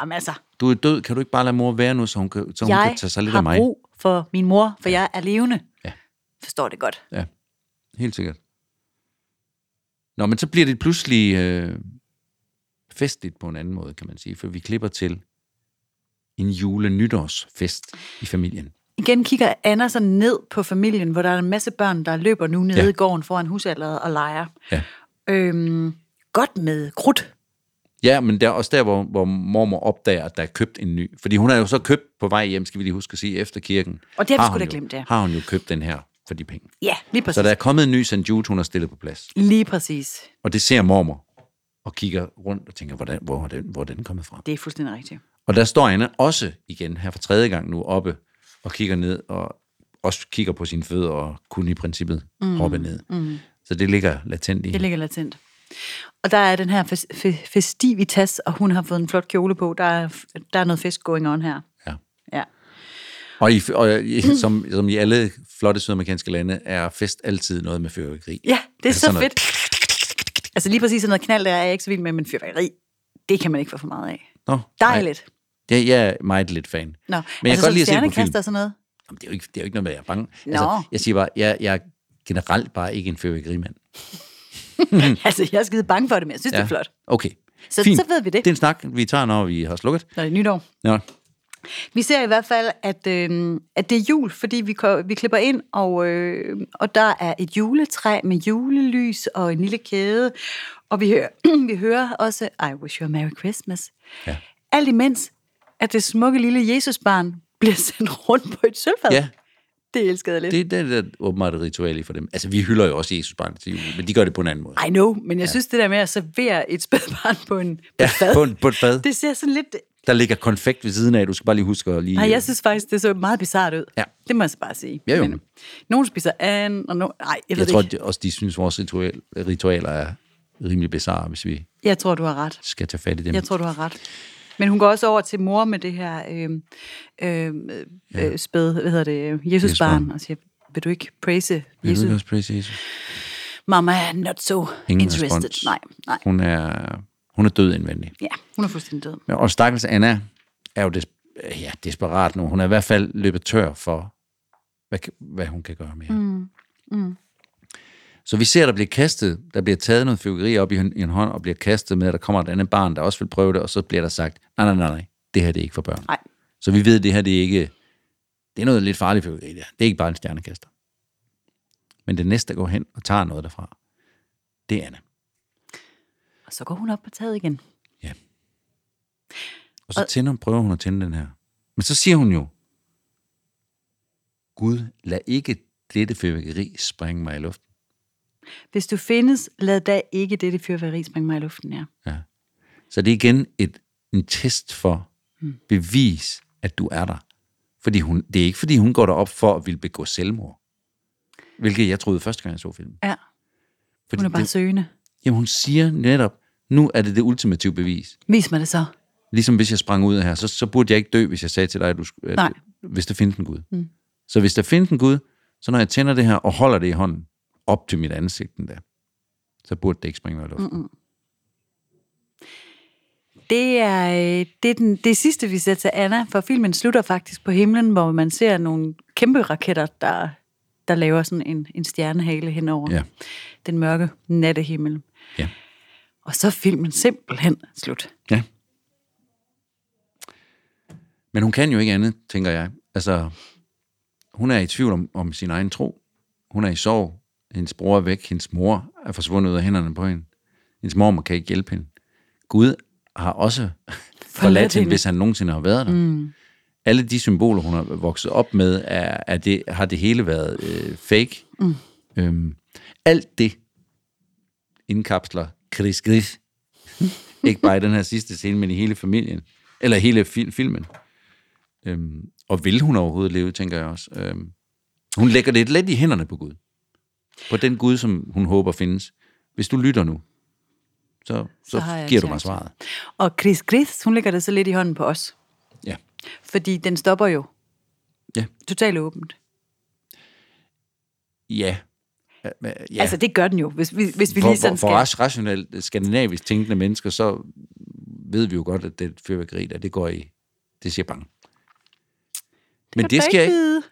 Speaker 2: jamen altså,
Speaker 1: Du er død, kan du ikke bare lade mor være nu, så hun kan, så hun
Speaker 2: jeg
Speaker 1: kan tage sig lidt af
Speaker 2: har
Speaker 1: mig?
Speaker 2: brug for min mor, for jeg er levende.
Speaker 1: Ja.
Speaker 2: Forstår det godt.
Speaker 1: Ja, helt sikkert. Nå, men så bliver det pludselig øh, festligt på en anden måde, kan man sige, for vi klipper til en jule-nytårsfest i familien.
Speaker 2: Igen kigger Anna så ned på familien, hvor der er en masse børn, der løber nu nede
Speaker 1: Ja.
Speaker 2: ja. i gården foran husalderet og leger.
Speaker 1: Ja.
Speaker 2: Øhm, godt med krudt.
Speaker 1: Ja, men der er også der, hvor, hvor mormor opdager, at der er købt en ny. Fordi hun har jo så købt på vej hjem, skal vi lige huske at sige, efter kirken.
Speaker 2: Og det har vi sgu
Speaker 1: hun
Speaker 2: da
Speaker 1: jo-
Speaker 2: glemt, ja.
Speaker 1: Har hun jo købt den her for de penge.
Speaker 2: Ja, lige præcis.
Speaker 1: Så der er kommet en ny St. Jude, hun har stillet på plads.
Speaker 2: Lige præcis.
Speaker 1: Og det ser mormor og kigger rundt og tænker, hvordan, hvor, er den, hvor er den kommet fra?
Speaker 2: Det er fuldstændig rigtigt.
Speaker 1: Og der står Anna også igen her for tredje gang nu oppe og kigger ned og også kigger på sine fødder og kunne i princippet mm. hoppe ned. Mm. Så det ligger latent i
Speaker 2: Det
Speaker 1: hende.
Speaker 2: ligger latent. Og der er den her fes- fe- festivitas, og hun har fået en flot kjole på. Der er, f- der er noget fest going on her.
Speaker 1: Ja.
Speaker 2: Ja.
Speaker 1: Og, i, og i, som, som i alle flotte sydamerikanske lande er fest altid noget med fyrværkeri.
Speaker 2: Ja, det er,
Speaker 1: Altså
Speaker 2: så
Speaker 1: sådan noget-
Speaker 2: fedt. Altså lige præcis sådan noget knald, der er jeg ikke så vild med, men fyrværkeri, det kan man ikke få for meget af.
Speaker 1: Nå,
Speaker 2: Dejligt.
Speaker 1: Nej, det, jeg er meget lidt fan.
Speaker 2: Nå,
Speaker 1: Men jeg kan
Speaker 2: så
Speaker 1: godt lide at se det på film.
Speaker 2: stjernekast og sådan noget.
Speaker 1: Jamen, det, er jo ikke, det er jo ikke noget med, at jeg er bange.
Speaker 2: Nå.
Speaker 1: Altså, jeg siger bare, jeg, jeg er generelt bare ikke en fyrværkerimand. Mm.
Speaker 2: Altså, jeg er skide bange for det, men jeg synes, ja. det er flot.
Speaker 1: Okay.
Speaker 2: Så- så ved vi det.
Speaker 1: Det er en snak, vi tager, når vi har slukket.
Speaker 2: Når det er nytår.
Speaker 1: Nå.
Speaker 2: Vi ser i hvert fald, at, øh, at det er jul, fordi vi, ko- vi klipper ind, og, øh, og der er et juletræ med julelys og en lille kæde. Og vi hører, vi hører også, I wish you a merry Christmas.
Speaker 1: Ja.
Speaker 2: Alt imens, at det smukke lille Jesusbarn bliver sendt rundt på et sølvfad.
Speaker 1: Ja,
Speaker 2: Det elskede jeg lidt.
Speaker 1: Det, det er da åbenbart et ritual i for dem. Altså, vi hylder jo også Jesus barn til jul, men de gør det på en anden måde.
Speaker 2: I know, men jeg ja. synes, det der med at servere et spædbarn på en på ja, fad,
Speaker 1: På, en- på et fad.
Speaker 2: det ser sådan lidt...
Speaker 1: Der ligger konfekt ved siden af, du skal bare lige huske at lige...
Speaker 2: Nej, jeg synes faktisk, det så meget bizart ud.
Speaker 1: Ja.
Speaker 2: Det må jeg så bare sige. øh,
Speaker 1: Ja, jo.
Speaker 2: nogen spiser an, og nogen... Nej, jeg ved
Speaker 1: jeg
Speaker 2: det
Speaker 1: tror
Speaker 2: ikke.
Speaker 1: de, også, de synes, vores ritual, ritualer er rimelig bizarre, hvis vi
Speaker 2: Jeg tror, du har ret.
Speaker 1: skal tage fat i dem.
Speaker 2: Jeg tror, du har ret. Men hun går også over til mor med det her øh, øh, øh, spæd, hvad hedder det, øh, Jesusbarn,
Speaker 1: Jesusbarn.
Speaker 2: og siger, vil du ikke praise
Speaker 1: Vil du
Speaker 2: Jesus?
Speaker 1: ikke også praise Jesus?
Speaker 2: Mamma er not so
Speaker 1: Ingen
Speaker 2: interested.
Speaker 1: respons.
Speaker 2: Nej, nej.
Speaker 1: Hun er, hun er død indvendig.
Speaker 2: Ja, hun er fuldstændig død.
Speaker 1: Men- Og stakkels Anna er jo des, ja, desperat nu. Hun er i hvert fald løbet tør for, hvad, kan- hvad hun kan gøre mere. Mm. Mm. Så vi ser, der bliver kastet, der bliver taget noget fyrværkeri op i en, i en hånd, og bliver kastet med, at der kommer et andet barn, der også vil prøve det, og så bliver der sagt, nej, nej, nej, nej, det her det er ikke for børn.
Speaker 2: Nej.
Speaker 1: Så vi ved, at det her det er ikke, det er noget lidt farligt fyrværkeri, det her. Det er ikke bare en stjernekaster. Men det næste, der går hen og tager noget derfra, det er Anna.
Speaker 2: Og så går hun op på taget igen.
Speaker 1: Og så tænder, prøver hun at tænde den her. Men så siger hun jo, Gud, lad ikke dette fyrværkeri sprænge mig i luften.
Speaker 2: Hvis du findes, lad da ikke dette fyrværkeri springe mig i luften her.
Speaker 1: Så det er igen et, en test for
Speaker 2: Hmm.
Speaker 1: bevis, at du er der. Fordi hun, det er ikke, fordi hun går derop for at ville begå selvmord. Hvilket jeg troede første gang, jeg så filmen.
Speaker 2: Ja,
Speaker 1: Fordi
Speaker 2: hun er bare
Speaker 1: det,
Speaker 2: søgende.
Speaker 1: jamen, hun siger netop, nu er det det ultimative bevis.
Speaker 2: Vis mig det så.
Speaker 1: Ligesom hvis jeg sprang ud af her, så, så burde jeg ikke dø, hvis jeg sagde til dig, at du, skulle- at,
Speaker 2: Nej.
Speaker 1: hvis der findes en Gud. Mm. Så hvis der findes en Gud, så når jeg tænder det her og holder det i hånden op til mit ansigt den der, så burde det ikke springe mig i luften. Mm-mm.
Speaker 2: Det er, øh, det, er den, det er sidste, vi ser til Anna, for filmen slutter faktisk på himlen, hvor man ser nogle kæmpe raketter, der, der laver sådan en, en stjernehale henover
Speaker 1: Ja.
Speaker 2: den mørke nattehimmel.
Speaker 1: Ja.
Speaker 2: Og så er filmen simpelthen slut.
Speaker 1: Ja. Men hun kan jo ikke andet, tænker jeg. Altså, hun er i tvivl om, om sin egen tro. Hun er i sorg. Hendes bror er væk. Hendes mor er forsvundet ud af hænderne på hende. Hendes mormor kan ikke hjælpe hende. Gud har også forladt hende,
Speaker 2: hende.
Speaker 1: hvis han nogensinde har været der. Mm. Alle de symboler, hun har vokset op med, er, er det, har det hele været øh, fake. Mm. Øhm, alt det indkapsler Chris Gris. ikke bare i den her sidste scene, men i hele familien. Eller hele fil- filmen. Øhm, og vil hun overhovedet leve, tænker jeg også. Øhm, hun lægger det lidt i hænderne på Gud. På den Gud, som hun håber findes. Hvis du lytter nu, så, så,
Speaker 2: har jeg
Speaker 1: så
Speaker 2: en
Speaker 1: giver du mig
Speaker 2: chance.
Speaker 1: svaret.
Speaker 2: Og Chris Gris, hun lægger det så lidt i hånden på os.
Speaker 1: Ja.
Speaker 2: Fordi den stopper jo.
Speaker 1: Ja.
Speaker 2: Totalt åbent.
Speaker 1: Ja. Ja, men-
Speaker 2: Ja.
Speaker 1: ja.
Speaker 2: Altså, det gør den jo, hvis vi, hvis vi
Speaker 1: for,
Speaker 2: lige sådan
Speaker 1: for, for
Speaker 2: skal...
Speaker 1: os rationelt skandinavisk tænkende mennesker, så ved vi jo godt, at det fyrværkeri der, det går i, det siger bang. Men det skal jeg ikke,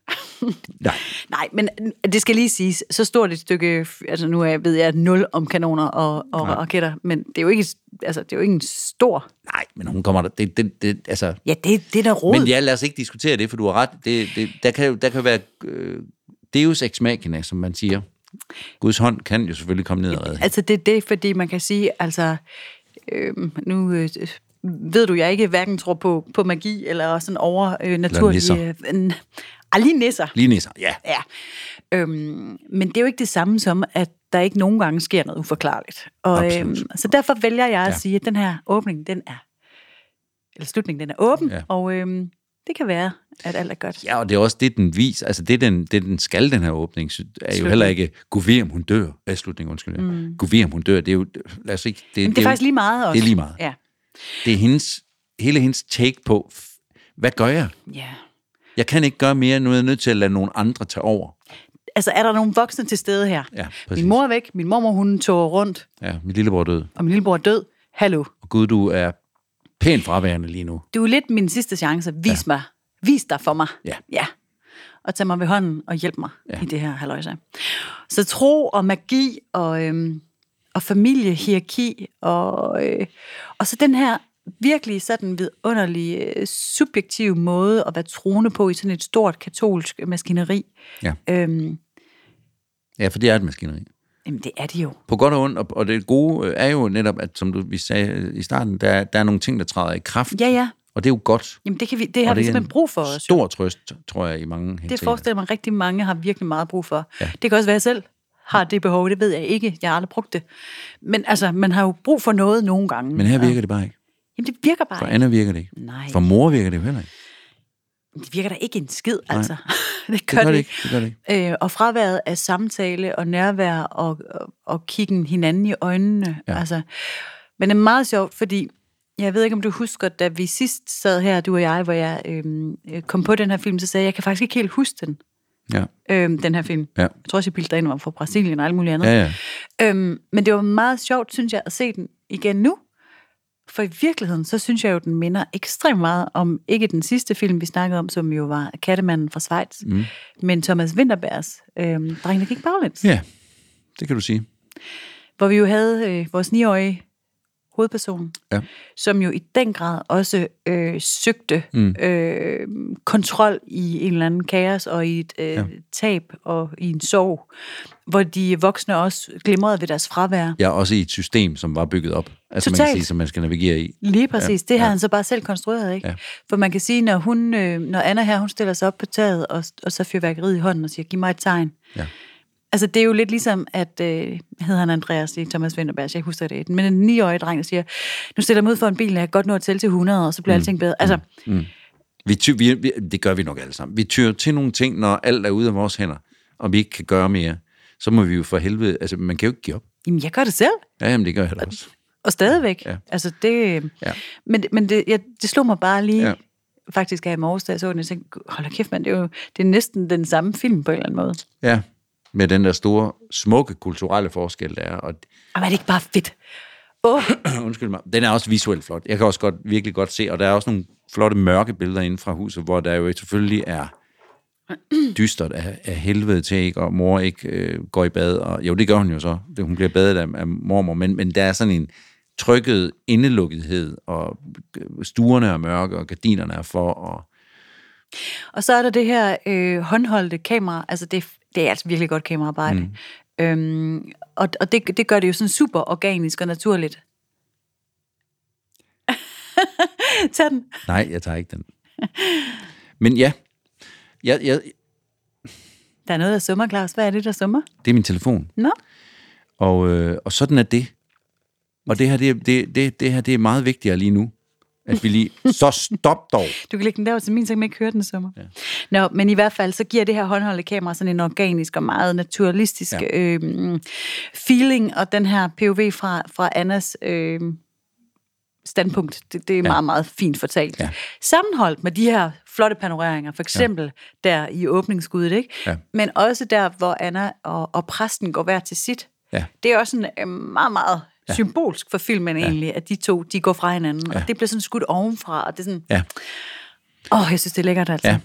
Speaker 2: ikke...
Speaker 1: nej,
Speaker 2: Nej, men det skal lige siges, så stort et stykke, altså nu er, jeg- ved jeg nul om kanoner og, og
Speaker 1: Nej.
Speaker 2: raketter, men det er jo ikke, altså, det er jo ikke en stor...
Speaker 1: nej, men hun kommer der, det, det, det altså,
Speaker 2: Ja, det, det er da rod.
Speaker 1: men ja, lad os ikke diskutere det, for du har ret, det, det, der, kan, jo- der kan være øh, deus ex machina, som man siger. Guds hånd kan jo selvfølgelig komme ned og redde. hende.
Speaker 2: Altså, det er det, fordi man kan sige, altså, øhm, nu øh, ved du, jeg ikke hverken tror på, på magi eller sådan over øh, naturlige...
Speaker 1: nisser.
Speaker 2: Eller ah, lige nisser.
Speaker 1: Lige nisser, ja.
Speaker 2: Ja. Øhm, men det er jo ikke det samme som, at der ikke nogen gange sker noget uforklarligt. Og,
Speaker 1: Absolut.
Speaker 2: øhm, så derfor vælger jeg at
Speaker 1: Ja.
Speaker 2: ja. sige, at den her åbning, den er, eller slutningen, den er åben,
Speaker 1: Ja.
Speaker 2: ja. og øhm, det kan være, at alt er godt.
Speaker 1: Ja, og det er også det, den viser. Altså det, den, det, den skal, den her åbning, sy- er jo heller ikke, gud ved, om hun dør. Hvad slutningen, undskyld. Mm. Gud ved, om hun dør. Det er jo, lad os ikke...
Speaker 2: Men det
Speaker 1: jo-
Speaker 2: er faktisk lige meget også.
Speaker 1: Det er lige meget.
Speaker 2: Ja.
Speaker 1: Det er hendes, hele hendes take på, f- hvad gør jeg?
Speaker 2: ja.
Speaker 1: Jeg kan ikke gøre mere, nu er jeg nødt til at lade nogle andre tage over.
Speaker 2: Altså, er der nogle voksne til stede her?
Speaker 1: Ja, præcis.
Speaker 2: min mor er væk, min mormor, hun tog rundt,
Speaker 1: Ja, min lillebror er død.
Speaker 2: og min lillebror er død. Hallo.
Speaker 1: Og Gud, du er pænt fraværende lige nu.
Speaker 2: Du er lidt min sidste chance. Vis ja. mig. Vis dig for mig.
Speaker 1: Ja.
Speaker 2: ja. Og tag mig ved hånden og hjælp mig
Speaker 1: Ja.
Speaker 2: ja. i det her halvøjse. Så tro og magi og, øhm, og familie, hierarki og, øh, og så den her virkelig sådan vidunderlige, øh, subjektive måde at være troende på i sådan et stort katolsk maskineri.
Speaker 1: Ja.
Speaker 2: Øhm,
Speaker 1: Ja, for det er et maskineri.
Speaker 2: jamen, det er det jo.
Speaker 1: På godt og ondt, og, og det gode øh, er jo netop, at som du, vi sagde øh, i starten, der, er- der er nogle ting, der træder i kraft.
Speaker 2: Ja, ja.
Speaker 1: Og det er jo godt.
Speaker 2: Jamen, det, kan vi, det har
Speaker 1: og
Speaker 2: vi
Speaker 1: det er
Speaker 2: simpelthen
Speaker 1: en
Speaker 2: brug for os. jo.
Speaker 1: Stor trøst, tror jeg, i mange
Speaker 2: Det
Speaker 1: henseender.
Speaker 2: forestiller mig, at rigtig mange har virkelig meget brug for. Ja. Det kan også være, at jeg selv har det behov. Det ved jeg ikke. Jeg har aldrig brugt det. Men altså, man har jo brug for noget nogle gange.
Speaker 1: Men her virker det bare ikke.
Speaker 2: Jamen, det virker
Speaker 1: For
Speaker 2: bare ikke.
Speaker 1: Anna virker det ikke.
Speaker 2: Nej,
Speaker 1: For mor virker det jo heller ikke.
Speaker 2: det virker da ikke en skid, altså. det
Speaker 1: Det
Speaker 2: gør det
Speaker 1: ikke. Det gør det ikke.
Speaker 2: ikke. Øh, og fraværet af samtale og nærvær og, og, og kiggen hinanden i øjnene.
Speaker 1: Ja.
Speaker 2: Ja. Altså. Men det er meget sjovt, fordi jeg ved ikke, om du husker, da vi sidst sad her, du og jeg, hvor jeg øhm, øh, kom på den her film, så sagde jeg, jeg kan faktisk ikke helt huske den,
Speaker 1: Ja,
Speaker 2: øhm, den her film.
Speaker 1: ja,
Speaker 2: Jeg tror også, jeg bildte dig ind, den var fra Brasilien og alt muligt andet.
Speaker 1: ja. ja.
Speaker 2: Øhm, men det var meget sjovt, synes jeg, at se den igen nu. For i virkeligheden, så synes jeg jo, den minder ekstremt meget om, ikke den sidste film, vi snakkede om, som jo var Kattemanden fra Schweiz, mm. men Thomas Winterbergs øhm, Dreng, der gik baglæns,
Speaker 1: Ja, det kan du sige.
Speaker 2: hvor vi jo havde øh, vores 9-årige hovedperson,
Speaker 1: Ja.
Speaker 2: som jo i den grad også øh, søgte mm. øh, kontrol i en eller anden kaos og i et øh, ja. tab og i en sorg, hvor de voksne også glimrede ved deres fravær.
Speaker 1: Jeg er også i et system, som var bygget op. Altså man kan
Speaker 2: Totalt.
Speaker 1: sige, som man skal navigere i.
Speaker 2: Lige præcis. Ja, det har ja. han så bare selv konstrueret, ikke?
Speaker 1: Ja.
Speaker 2: Ja. For man kan sige, når hun, øh, når Anna her, hun stiller sig op på taget, og, og så fyrværkeriet i hånden og siger, giv mig et tegn.
Speaker 1: Ja.
Speaker 2: Altså, det er jo lidt ligesom, at, øh, hedder han Andreas i Thomas Vinterberg, jeg husker det, men en 9-årig dreng, der siger, nu stiller jeg mig ud foran bilen, jeg kan godt nå at tælle til 100, og så bliver mm. alting bedre. Altså,
Speaker 1: Vi ty, vi, vi, det gør vi nok alle sammen. Vi tyrer til nogle ting, når alt er ude af vores hænder, og vi ikke kan gøre mere. Så må vi jo for helvede... Altså, man kan jo ikke give op.
Speaker 2: jamen, jeg gør det selv.
Speaker 1: Ja, jamen, det gør jeg da også.
Speaker 2: Og stadigvæk.
Speaker 1: Ja.
Speaker 2: Ja. Altså det,
Speaker 1: Ja.
Speaker 2: ja. Men, men det, jeg, det slog mig bare lige,
Speaker 1: Ja.
Speaker 2: ja. faktisk af i morges, da jeg så den, jeg tænkte, hold da kæft, man, det er jo det er næsten den samme film på en eller anden måde.
Speaker 1: Ja, med den der store, smukke kulturelle forskel, der er. Og,
Speaker 2: Og er det ikke bare fedt? Åh,
Speaker 1: undskyld mig, den er også visuelt flot. Jeg kan også godt, virkelig godt se, og der er også nogle flotte mørke billeder inde fra huset, hvor der jo selvfølgelig er dystert af, af helvede til, ikke? og mor ikke øh, går i bad. Og, jo, det gør hun jo så. Det, hun bliver badet af, af mormor, men, men der er sådan en trykket indelukkethed, og stuerne er mørke, og gardinerne er for, og
Speaker 2: Og så er der det her øh, håndholdte kamera. Altså, det, det er altså virkelig godt kameraarbejde. Mm. Øhm, og og det, det gør det jo sådan super organisk og naturligt. Tag den.
Speaker 1: nej, jeg tager ikke den. Men ja, jeg, jeg,
Speaker 2: Der er noget, der summer, Claus. Hvad er det, der summer?
Speaker 1: det er min telefon,
Speaker 2: Nå,
Speaker 1: og, øh, og sådan er det. Og det her, det, det, det, det her, det er meget vigtigere lige nu. At vi lige, så stop dog!
Speaker 2: du kan lægge den der, så min, så kan man ikke høre den summer. Ja. Nå, men i hvert fald, så giver det her håndholdte kamera sådan en organisk og meget naturalistisk
Speaker 1: Ja.
Speaker 2: ja. øh, feeling, og den her POV fra, fra Annas øh, standpunkt, det, det er ja. meget, meget fint fortalt.
Speaker 1: Ja.
Speaker 2: Ja. Sammenholdt med de her flotte panoreringer, for eksempel ja. der i åbningsskuddet, ikke?
Speaker 1: Ja.
Speaker 2: men også der, hvor Anna og, og præsten går hver til sit.
Speaker 1: Ja.
Speaker 2: Det er også en øh, meget, meget ja. symbolsk for filmen egentlig, at de to, de går fra hinanden, ja. og det bliver sådan skudt ovenfra, og det er sådan,
Speaker 1: Ja.
Speaker 2: åh, oh, jeg synes, det er lækkert altså.
Speaker 1: Ja.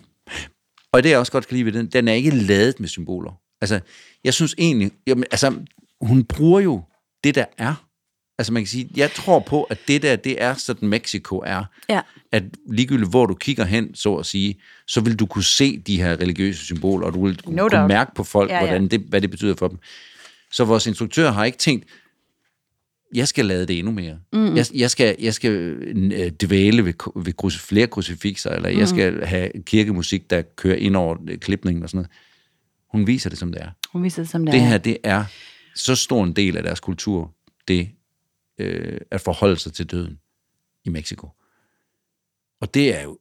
Speaker 1: Og det jeg også godt kan lide ved den, den er ikke ladet med symboler. Altså, jeg synes egentlig, jamen, altså, hun bruger jo det, der er. Altså man kan sige, jeg tror på, at det der, det er sådan Mexico er.
Speaker 2: Ja.
Speaker 1: At ligegyldigt hvor du kigger hen, så at sige, så vil du kunne se de her religiøse symboler, og du vil kunne,
Speaker 2: No
Speaker 1: kunne
Speaker 2: doubt.
Speaker 1: mærke på folk,
Speaker 2: Ja,
Speaker 1: ja,
Speaker 2: ja.
Speaker 1: ja. Hvordan det, hvad det betyder for dem. Så vores instruktør har ikke tænkt, jeg skal lade det endnu mere. Mm. Jeg, jeg skal, jeg skal øh, dvæle ved, ku- ved krus, flere krucifixer, eller mm. jeg skal have kirkemusik, der kører ind over øh, klipningen og sådan noget. Hun viser det, som det er.
Speaker 2: Hun viser det, som det,
Speaker 1: Det
Speaker 2: er.
Speaker 1: her, det er så stor en del af deres kultur, det øh, at forholde sig til døden i Mexico. Og det er jo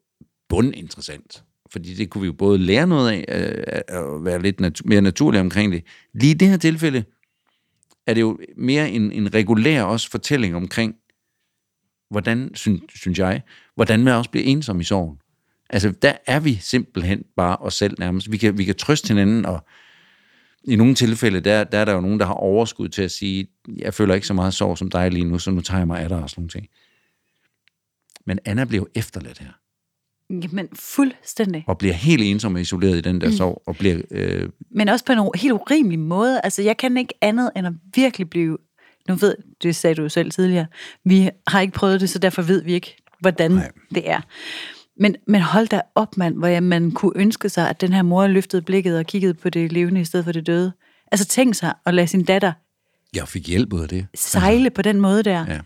Speaker 1: bundinteressant, fordi det kunne vi jo både lære noget af, øh, og være lidt natu- mere naturlig omkring det. Lige i det her tilfælde er det jo mere en, en regulær også fortælling omkring, hvordan, synes, synes jeg, hvordan man også bliver ensom i sorgen. Altså, der er vi simpelthen bare os selv nærmest. Vi kan, vi kan trøste hinanden, og i nogle tilfælde, der, der er der jo nogen, der har overskud til at sige, jeg føler ikke så meget sorg som dig lige nu, så nu tager jeg mig af dig og sådan nogle ting. Men Anna bliver jo efterladt her,
Speaker 2: Jamen, fuldstændig.
Speaker 1: og bliver helt ensom og isoleret i den der mm. sorg, og bliver... Øh,
Speaker 2: Men også på en u- helt urimelig måde. Altså, jeg kan ikke andet end at virkelig blive... Nu ved, det sagde du jo selv tidligere, vi har ikke prøvet det, så derfor ved vi ikke, hvordan Nej. det er. Men, men hold da op, mand, hvor jeg, man kunne ønske sig, at den her mor løftede blikket og kiggede på det levende i stedet for det døde. Altså, tænk sig at lade sin datter
Speaker 1: jeg fik hjælp ud af det.
Speaker 2: sejle på den måde der.
Speaker 1: Ja.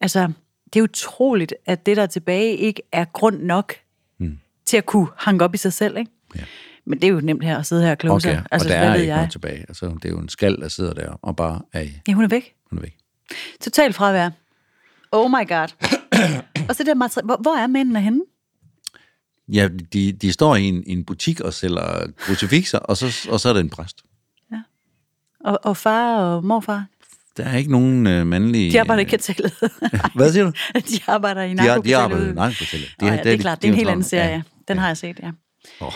Speaker 2: Altså, det er utroligt, at det, der er tilbage, ikke er grund nok mm. til at kunne hanke op i sig selv, ikke?
Speaker 1: Hmm. Ja.
Speaker 2: Men det er jo nemt her at sidde her og kloge
Speaker 1: Okay,
Speaker 2: sig. Altså,
Speaker 1: og der
Speaker 2: hvad
Speaker 1: er
Speaker 2: ved
Speaker 1: ikke noget tilbage. Altså, det er jo en skald, der sidder der og bare er, i-
Speaker 2: Ja, hun er væk.
Speaker 1: hun er væk.
Speaker 2: Totalt fravær. Oh my god. og så det der, materi- hvor, hvor er mændene henne?
Speaker 1: Ja, de, de står i en, en butik og sælger krucifixer, og så, og så er der en præst.
Speaker 2: Og, og far og morfar?
Speaker 1: Der er ikke nogen øh, mandlige... øh,
Speaker 2: De arbejder ikke i kartellet.
Speaker 1: Hvad siger du?
Speaker 2: de arbejder i
Speaker 1: De, har- de arbejder i
Speaker 2: narkokartellet.
Speaker 1: narkokartellet.
Speaker 2: Nå ja, det, er klart, det er en helt anden
Speaker 1: Ja,
Speaker 2: serie. Ja. Den har jeg set, ja.
Speaker 1: Åh,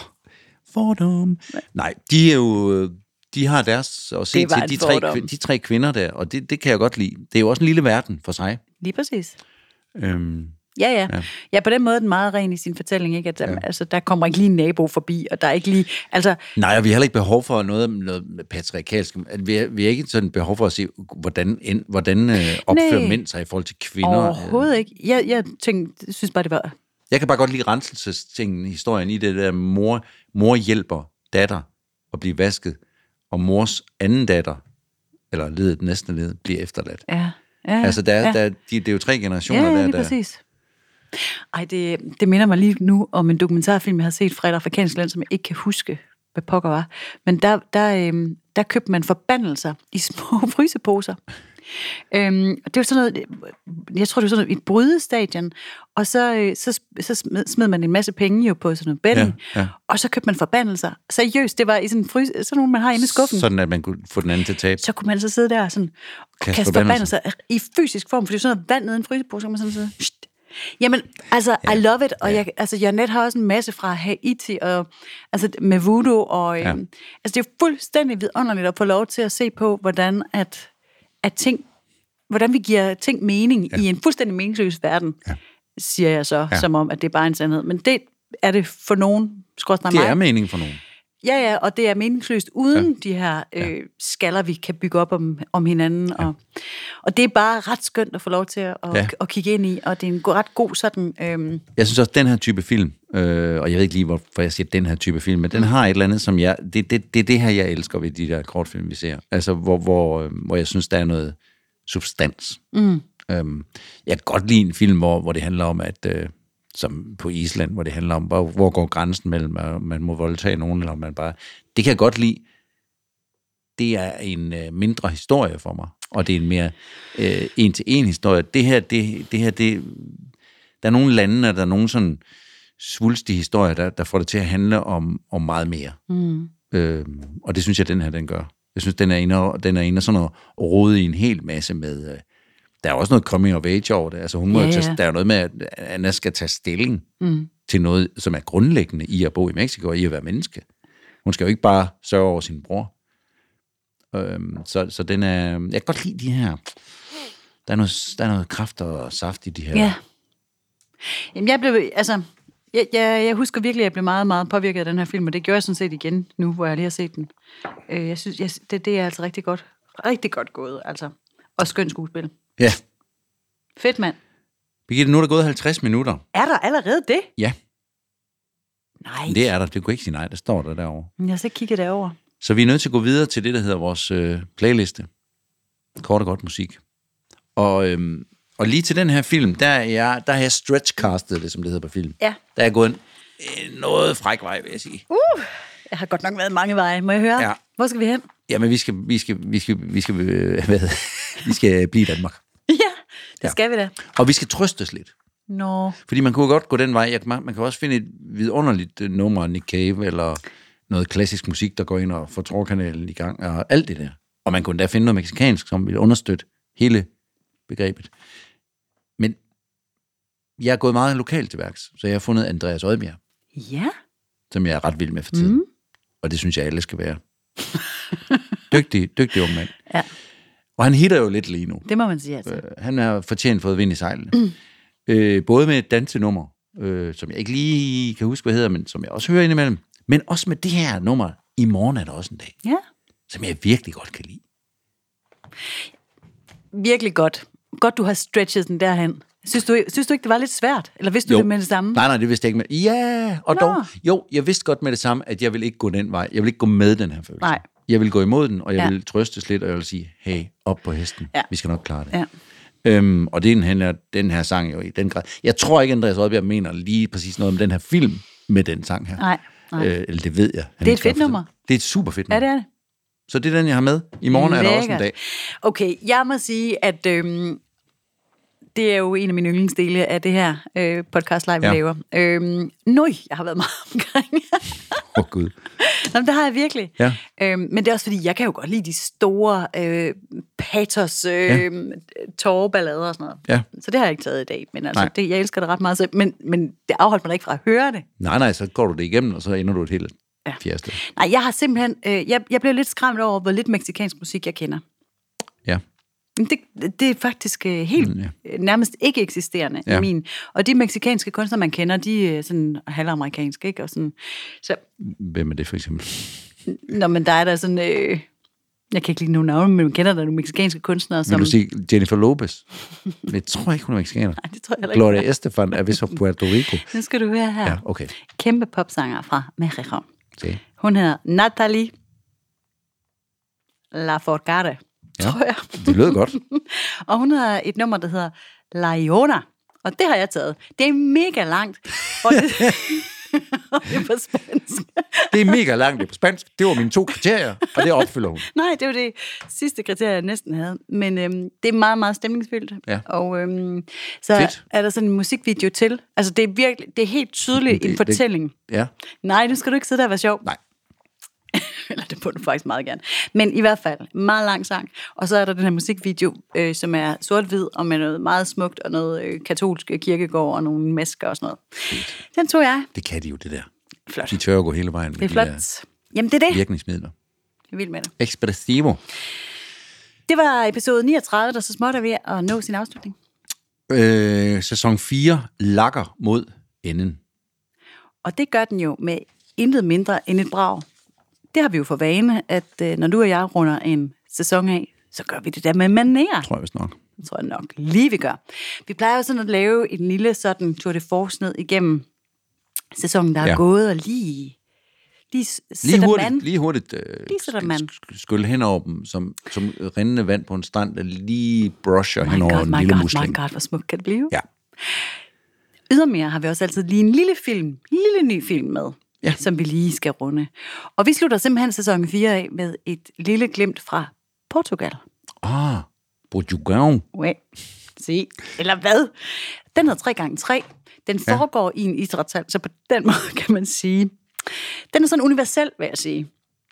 Speaker 1: fordom. Nej, de er jo... øh, De har deres at se
Speaker 2: Det var
Speaker 1: til
Speaker 2: en
Speaker 1: de tre,
Speaker 2: fordom.
Speaker 1: kvi- de tre kvinder der, og det, det kan jeg godt lide. Det er jo også en lille verden for sig.
Speaker 2: Lige præcis.
Speaker 1: Øhm,
Speaker 2: Ja, ja, ja. Ja, på den måde er den meget ren i sin fortælling, ikke? At, ja. altså, der kommer ikke lige en nabo forbi, og der er ikke lige... Altså,
Speaker 1: nej, og vi har heller ikke behov for noget, noget patriarkalsk. At Vi har, vi har ikke sådan behov for at se, hvordan, end- hvordan øh, opfører
Speaker 2: Nej.
Speaker 1: mænd sig i forhold til kvinder.
Speaker 2: Overhovedet ikke. Jeg, jeg tænkte, synes bare, det var...
Speaker 1: Jeg kan bare godt lide renselsestingen, historien i det der, mor, mor hjælper datter at blive vasket, og mors anden datter, eller ledet den næste led, bliver efterladt.
Speaker 2: Ja, ja, ja.
Speaker 1: Altså, der,
Speaker 2: ja.
Speaker 1: er- der, er- de, det er jo tre generationer,
Speaker 2: ja, ja,
Speaker 1: der,
Speaker 2: lige
Speaker 1: der,
Speaker 2: præcis. Ej, det, det minder mig lige nu om en dokumentarfilm, jeg har set fra et afrikansk land, som jeg ikke kan huske, hvad pokker var. Men der, der, øhm, der købte man forbandelser i små fryseposer. Øhm, og det var sådan noget, jeg tror, det var sådan noget, et brydestadion, og så, øh, så, så smed, smed man en masse penge jo på sådan noget betting,
Speaker 1: Ja, ja.
Speaker 2: og så købte man forbandelser. Seriøst, det var i sådan, en frys, sådan nogle, man har inde i skuffen.
Speaker 1: Sådan, at man kunne få den anden til at tabe.
Speaker 2: så kunne man så sidde der og sådan, kaste, kaste
Speaker 1: forbandelser.
Speaker 2: forbandelser i fysisk form, fordi sådan noget vand nede i en frysepose, så kan man sådan sidde, "Sht." Jamen, altså, ja. I love it, og ja. jeg, altså, jeg net har også en masse fra Haiti, og, altså med voodoo, og ja. øhm, altså, det er jo fuldstændig vidunderligt at få lov til at se på, hvordan at, at ting, hvordan vi giver ting mening ja. i en fuldstændig meningsløs verden, ja. siger jeg så, ja. som om, at det er bare en sandhed. Men det er det for nogen, skråstrej
Speaker 1: Det
Speaker 2: mig,
Speaker 1: er meningen for nogen.
Speaker 2: Ja, ja, og det er meningsløst uden ja. de her øh, skaller, vi kan bygge op om, om hinanden. Ja. Og, og det er bare ret skønt at få lov til at, ja. at, at kigge ind i, og det er en go- ret god sådan... Øh,
Speaker 1: Jeg synes også, at den her type film, øh, og jeg ved ikke lige, hvorfor jeg siger den her type film, men den har et eller andet, som jeg... Det er det, det, er det her, jeg elsker ved de der kortfilm, vi ser. Altså, hvor, hvor, øh, hvor jeg synes, der er noget substans. Mm. Øhm, jeg kan godt lide en film, hvor, hvor det handler om, at... Øh, som på Island, hvor det handler om, hvor, hvor går grænsen mellem, at man må voldtage nogen, eller om man bare... Det kan jeg godt lide. Det er en øh, mindre historie for mig, og det er en mere øh, en-til-en historie. Det her, det, det her, det... Der er nogle lande, og der er nogle sådan svulstige historier, der, der får det til at handle om, om meget mere. Mm. Øh, og det synes jeg, den her, den gør. Jeg synes, den er inde og, den er inde og sådan at rode i en hel masse med... Øh, der er også noget coming of age over det. Altså, hun må
Speaker 2: Ja,
Speaker 1: ja, ja.
Speaker 2: ja.
Speaker 1: Tage, der er noget med, at Anna skal tage stilling mm. til noget, som er grundlæggende i at bo i Mexico og i at være menneske. Hun skal jo ikke bare sørge over sin bror. Øhm, så, så den er... Jeg kan godt lide de her... Der er noget, der er noget kraft og saft i de her.
Speaker 2: Ja. Jamen, jeg blev, altså, jeg, jeg, jeg husker virkelig, at jeg blev meget, meget påvirket af den her film, og det gjorde jeg sådan set igen nu, hvor jeg lige har set den. Øh, jeg synes, jeg, det, det er altså rigtig godt, rigtig godt gået, altså. Og skønt skuespil.
Speaker 1: ja.
Speaker 2: Fedt, mand.
Speaker 1: Birgitte, nu er der gået 50 minutter.
Speaker 2: Er der allerede det?
Speaker 1: Ja,
Speaker 2: Nej, det
Speaker 1: det er der. Det kunne ikke sige nej. Der står der derovre.
Speaker 2: jeg har så ikke kigget derover.
Speaker 1: Så vi er nødt til at gå videre til det, der hedder vores øh, playliste. Kort og godt musik. Og, øhm, og lige til den her film, der, er jeg, der har jeg stretchcastet det, som det hedder på film.
Speaker 2: Ja.
Speaker 1: Der er jeg gået en øh, noget fræk vej, vil jeg sige. Uh.
Speaker 2: Jeg har godt nok været mange veje. Må jeg høre?
Speaker 1: Ja.
Speaker 2: Hvor skal vi hen?
Speaker 1: Jamen, vi skal, vi skal, vi skal, vi skal, øh, hvad, hedder det? vi skal blive i Danmark.
Speaker 2: Ja, det
Speaker 1: Ja.
Speaker 2: ja. skal vi da.
Speaker 1: Og vi skal trøstes lidt.
Speaker 2: Nå,
Speaker 1: Fordi man kunne jo godt gå den vej. Jeg- Man, man kan også finde et vidunderligt øh, nummer af Nick Cave, eller noget klassisk musik, der går ind og får trådkanalen i gang, og alt det der. Og man kunne da finde noget meksikansk, som ville understøtte hele begrebet. Men jeg er gået meget lokalt til værks, så jeg har fundet Andreas Oddbjerg,
Speaker 2: ja.
Speaker 1: som jeg er ret vild med for tiden. Mm. Og det synes jeg, alle skal være. dygtig, dygtig ung mand.
Speaker 2: Ja.
Speaker 1: Og han hitter jo lidt lige nu.
Speaker 2: Det må man sige, altså.
Speaker 1: Øh, han har fortjent fået vind i sejlene. Mm. Øh, både med et dansenummer, øh, som jeg ikke lige kan huske, hvad hedder, men som jeg også hører indimellem. Men også med det her nummer, I morgen er der også en dag,
Speaker 2: Ja.
Speaker 1: som jeg virkelig godt kan lide.
Speaker 2: Virkelig godt. Godt, du har stretchet den derhen. Synes du, synes du ikke, det var lidt svært? Eller vidste du det med det samme?
Speaker 1: Nej, nej, det vidste jeg ikke med. Ja, og
Speaker 2: Nå.
Speaker 1: dog. Jo, jeg vidste godt med det samme, at jeg vil ikke gå den vej. Jeg vil ikke gå med den her følelse.
Speaker 2: Nej.
Speaker 1: Jeg vil gå imod den, og jeg
Speaker 2: Ja.
Speaker 1: ja. vil trøstes lidt, og jeg vil sige, hey, op på hesten.
Speaker 2: Ja.
Speaker 1: Vi skal nok klare det.
Speaker 2: Ja.
Speaker 1: Øhm, og det handler den her sang jo i den grad. Jeg tror ikke, Andreas Oddbjerg mener lige præcis noget om den her film med den sang her.
Speaker 2: Nej, nej.
Speaker 1: Øh, eller det ved jeg. han
Speaker 2: Det er et
Speaker 1: ikke gør
Speaker 2: fedt
Speaker 1: for tiden.
Speaker 2: nummer.
Speaker 1: Det er et super fedt nummer.
Speaker 2: Ja, det er det.
Speaker 1: Så det er den, jeg har med. I morgen er der også en dag.
Speaker 2: Lækkert. Okay, jeg må sige, at øhm, det er jo en af mine yndlingsdele af det her øh, podcast live, vi
Speaker 1: Ja.
Speaker 2: laver. Øhm, nøj, jeg har været meget omkring.
Speaker 1: Åh, oh, Gud.
Speaker 2: Nå, men det har jeg virkelig.
Speaker 1: Ja.
Speaker 2: Øhm, men det er også fordi, jeg kan jo godt lide de store øh, patos, øh, ja. tårerballader og sådan noget.
Speaker 1: Ja.
Speaker 2: Så det har jeg ikke taget i dag, men altså,
Speaker 1: Nej.
Speaker 2: det, jeg elsker det ret meget selv. Men, men det afholdt mig da ikke fra at høre det.
Speaker 1: Nej, nej, så går du det igennem, og så ender du et helt
Speaker 2: Ja.
Speaker 1: ja. fjerde
Speaker 2: Nej, jeg har simpelthen, øh, jeg, jeg blev lidt skræmt over, hvor lidt meksikansk musik jeg kender.
Speaker 1: Ja.
Speaker 2: Men Det, det er faktisk øh, helt
Speaker 1: Mm,
Speaker 2: mm,
Speaker 1: ja.
Speaker 2: ja. nærmest ikke eksisterende ja.
Speaker 1: Ja.
Speaker 2: i min. Og de meksikanske kunstnere, man kender, de er sådan halvamerikanske, ikke? Og sådan, så,
Speaker 1: Hvem er det for eksempel?
Speaker 2: når man der er der sådan... Øh, jeg kan ikke lige nogen navne, men man kender der nogle meksikanske kunstnere,
Speaker 1: Vil
Speaker 2: som...
Speaker 1: du sige Jennifer Lopez? Men jeg tror ikke, hun er mexikaner.
Speaker 2: Nej, det tror jeg heller ikke.
Speaker 1: Gloria Estefan er vist fra Puerto Rico.
Speaker 2: Nu skal du høre her.
Speaker 1: Ja, okay.
Speaker 2: Kæmpe popsanger fra Mexico.
Speaker 1: Se.
Speaker 2: Hun hedder Natalie Lafourcade,
Speaker 1: Ja.
Speaker 2: tror jeg.
Speaker 1: Det lød godt.
Speaker 2: Og hun har et nummer, der hedder La Iona. Og det har jeg taget. Det er mega langt. Og det, og det er på spansk.
Speaker 1: Det er mega langt det er på spansk. Det var mine to kriterier, og det opfylder hun.
Speaker 2: Nej, det var det sidste kriterie, jeg næsten havde. Men øhm, det er meget, meget stemningsfyldt.
Speaker 1: Ja.
Speaker 2: Og øhm, så
Speaker 1: Fedt.
Speaker 2: er der sådan en musikvideo til. Altså, det er virkelig, det er helt tydeligt en
Speaker 1: det-
Speaker 2: fortælling.
Speaker 1: Ja.
Speaker 2: Nej, nu skal du ikke sidde der og være sjov.
Speaker 1: Nej.
Speaker 2: Eller det må du faktisk meget gerne. Men i hvert fald, meget lang sang. Og så er der den her musikvideo, øh, som er sort-hvid, og med noget meget smukt, og noget øh, katolsk kirkegård, og nogle masker og sådan noget. Den tog jeg.
Speaker 1: Det kan de jo, det der.
Speaker 2: Flot.
Speaker 1: De tør at gå hele vejen med
Speaker 2: Det er
Speaker 1: de
Speaker 2: flot.
Speaker 1: der
Speaker 2: Jamen, det er det. Jeg
Speaker 1: virkningsmidler.
Speaker 2: er vild med det.
Speaker 1: Expressivo.
Speaker 2: Det var episode 39, der så småt er ved at nå sin afslutning.
Speaker 1: Øh, sæson 4 lakker mod enden.
Speaker 2: Og det gør den jo med intet mindre end et brag det har vi jo for vane, at øh, når du og jeg runder en sæson af, så gør vi det der med manerer.
Speaker 1: tror jeg vist nok.
Speaker 2: Det tror jeg nok lige, vi gør. Vi plejer jo sådan at lave en lille sådan tour de force ned igennem sæsonen, der ja.
Speaker 1: Ja.
Speaker 2: er gået, og lige, lige, s-
Speaker 1: Lige
Speaker 2: sætter
Speaker 1: hurtigt,
Speaker 2: man-
Speaker 1: lige hurtigt øh,
Speaker 2: Lige sætter man.
Speaker 1: sk- sk- skylle hen over dem, som, som rindende vand på en strand, der lige brusher
Speaker 2: Oh My
Speaker 1: hen over
Speaker 2: God,
Speaker 1: en
Speaker 2: my
Speaker 1: lille
Speaker 2: God,
Speaker 1: musling.
Speaker 2: my God, hvor smukt kan det blive.
Speaker 1: Ja.
Speaker 2: Ydermere har vi også altid lige en lille film, en lille ny film med,
Speaker 1: Ja.
Speaker 2: som vi lige skal runde. Og vi slutter simpelthen sæson 4 af med et lille glimt fra Portugal.
Speaker 1: Ah, Portugal.
Speaker 2: Ouais. Se. Eller hvad? Den hedder 3 gange 3 Den foregår ja. i en idrætshal, så på den måde kan man sige. Den er sådan universel, vil jeg sige.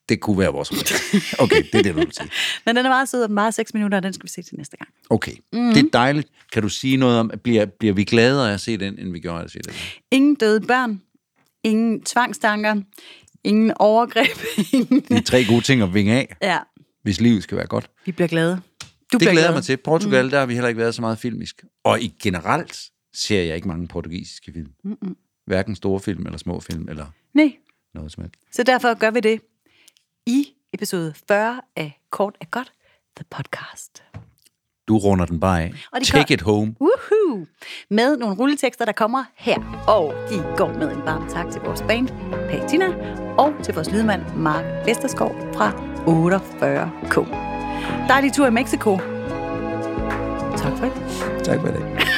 Speaker 1: Det kunne være vores roman. Okay, det er det, du vil sige.
Speaker 2: Men den er meget sød og meget 6 minutter, og den skal vi se til næste gang.
Speaker 1: Okay,
Speaker 2: Mm.
Speaker 1: mm-hmm. det er dejligt. Kan du sige noget om, bliver, bliver vi gladere af at se den, end vi gjorde af at se den?
Speaker 2: Ingen døde børn. Ingen tvangstanker. Ingen overgreb. Ingen...
Speaker 1: Det er tre gode ting at vinge af,
Speaker 2: Ja,
Speaker 1: hvis livet skal være godt.
Speaker 2: vi bliver glade. Du
Speaker 1: Det
Speaker 2: bliver
Speaker 1: glæder jeg
Speaker 2: glad.
Speaker 1: mig til. Portugal, mm. der har vi heller ikke været så meget filmisk. Og i generelt ser jeg ikke mange portugisiske film. Mm-mm. Hverken store film, eller små film, eller
Speaker 2: Nej,
Speaker 1: noget som helst.
Speaker 2: så derfor gør vi det i episode 40 af Kort er godt, the podcast.
Speaker 1: Du runder den bare af.
Speaker 2: Og det
Speaker 1: Take
Speaker 2: gør-
Speaker 1: it home.
Speaker 2: Woohoo! Med nogle rulletekster, der kommer her. Og de går med en varm tak til vores band, Patina, og til vores lydmand, Mark Vesterskov fra 48K. Dejlig tur i Mexico. Tak for det.
Speaker 1: Tak for det.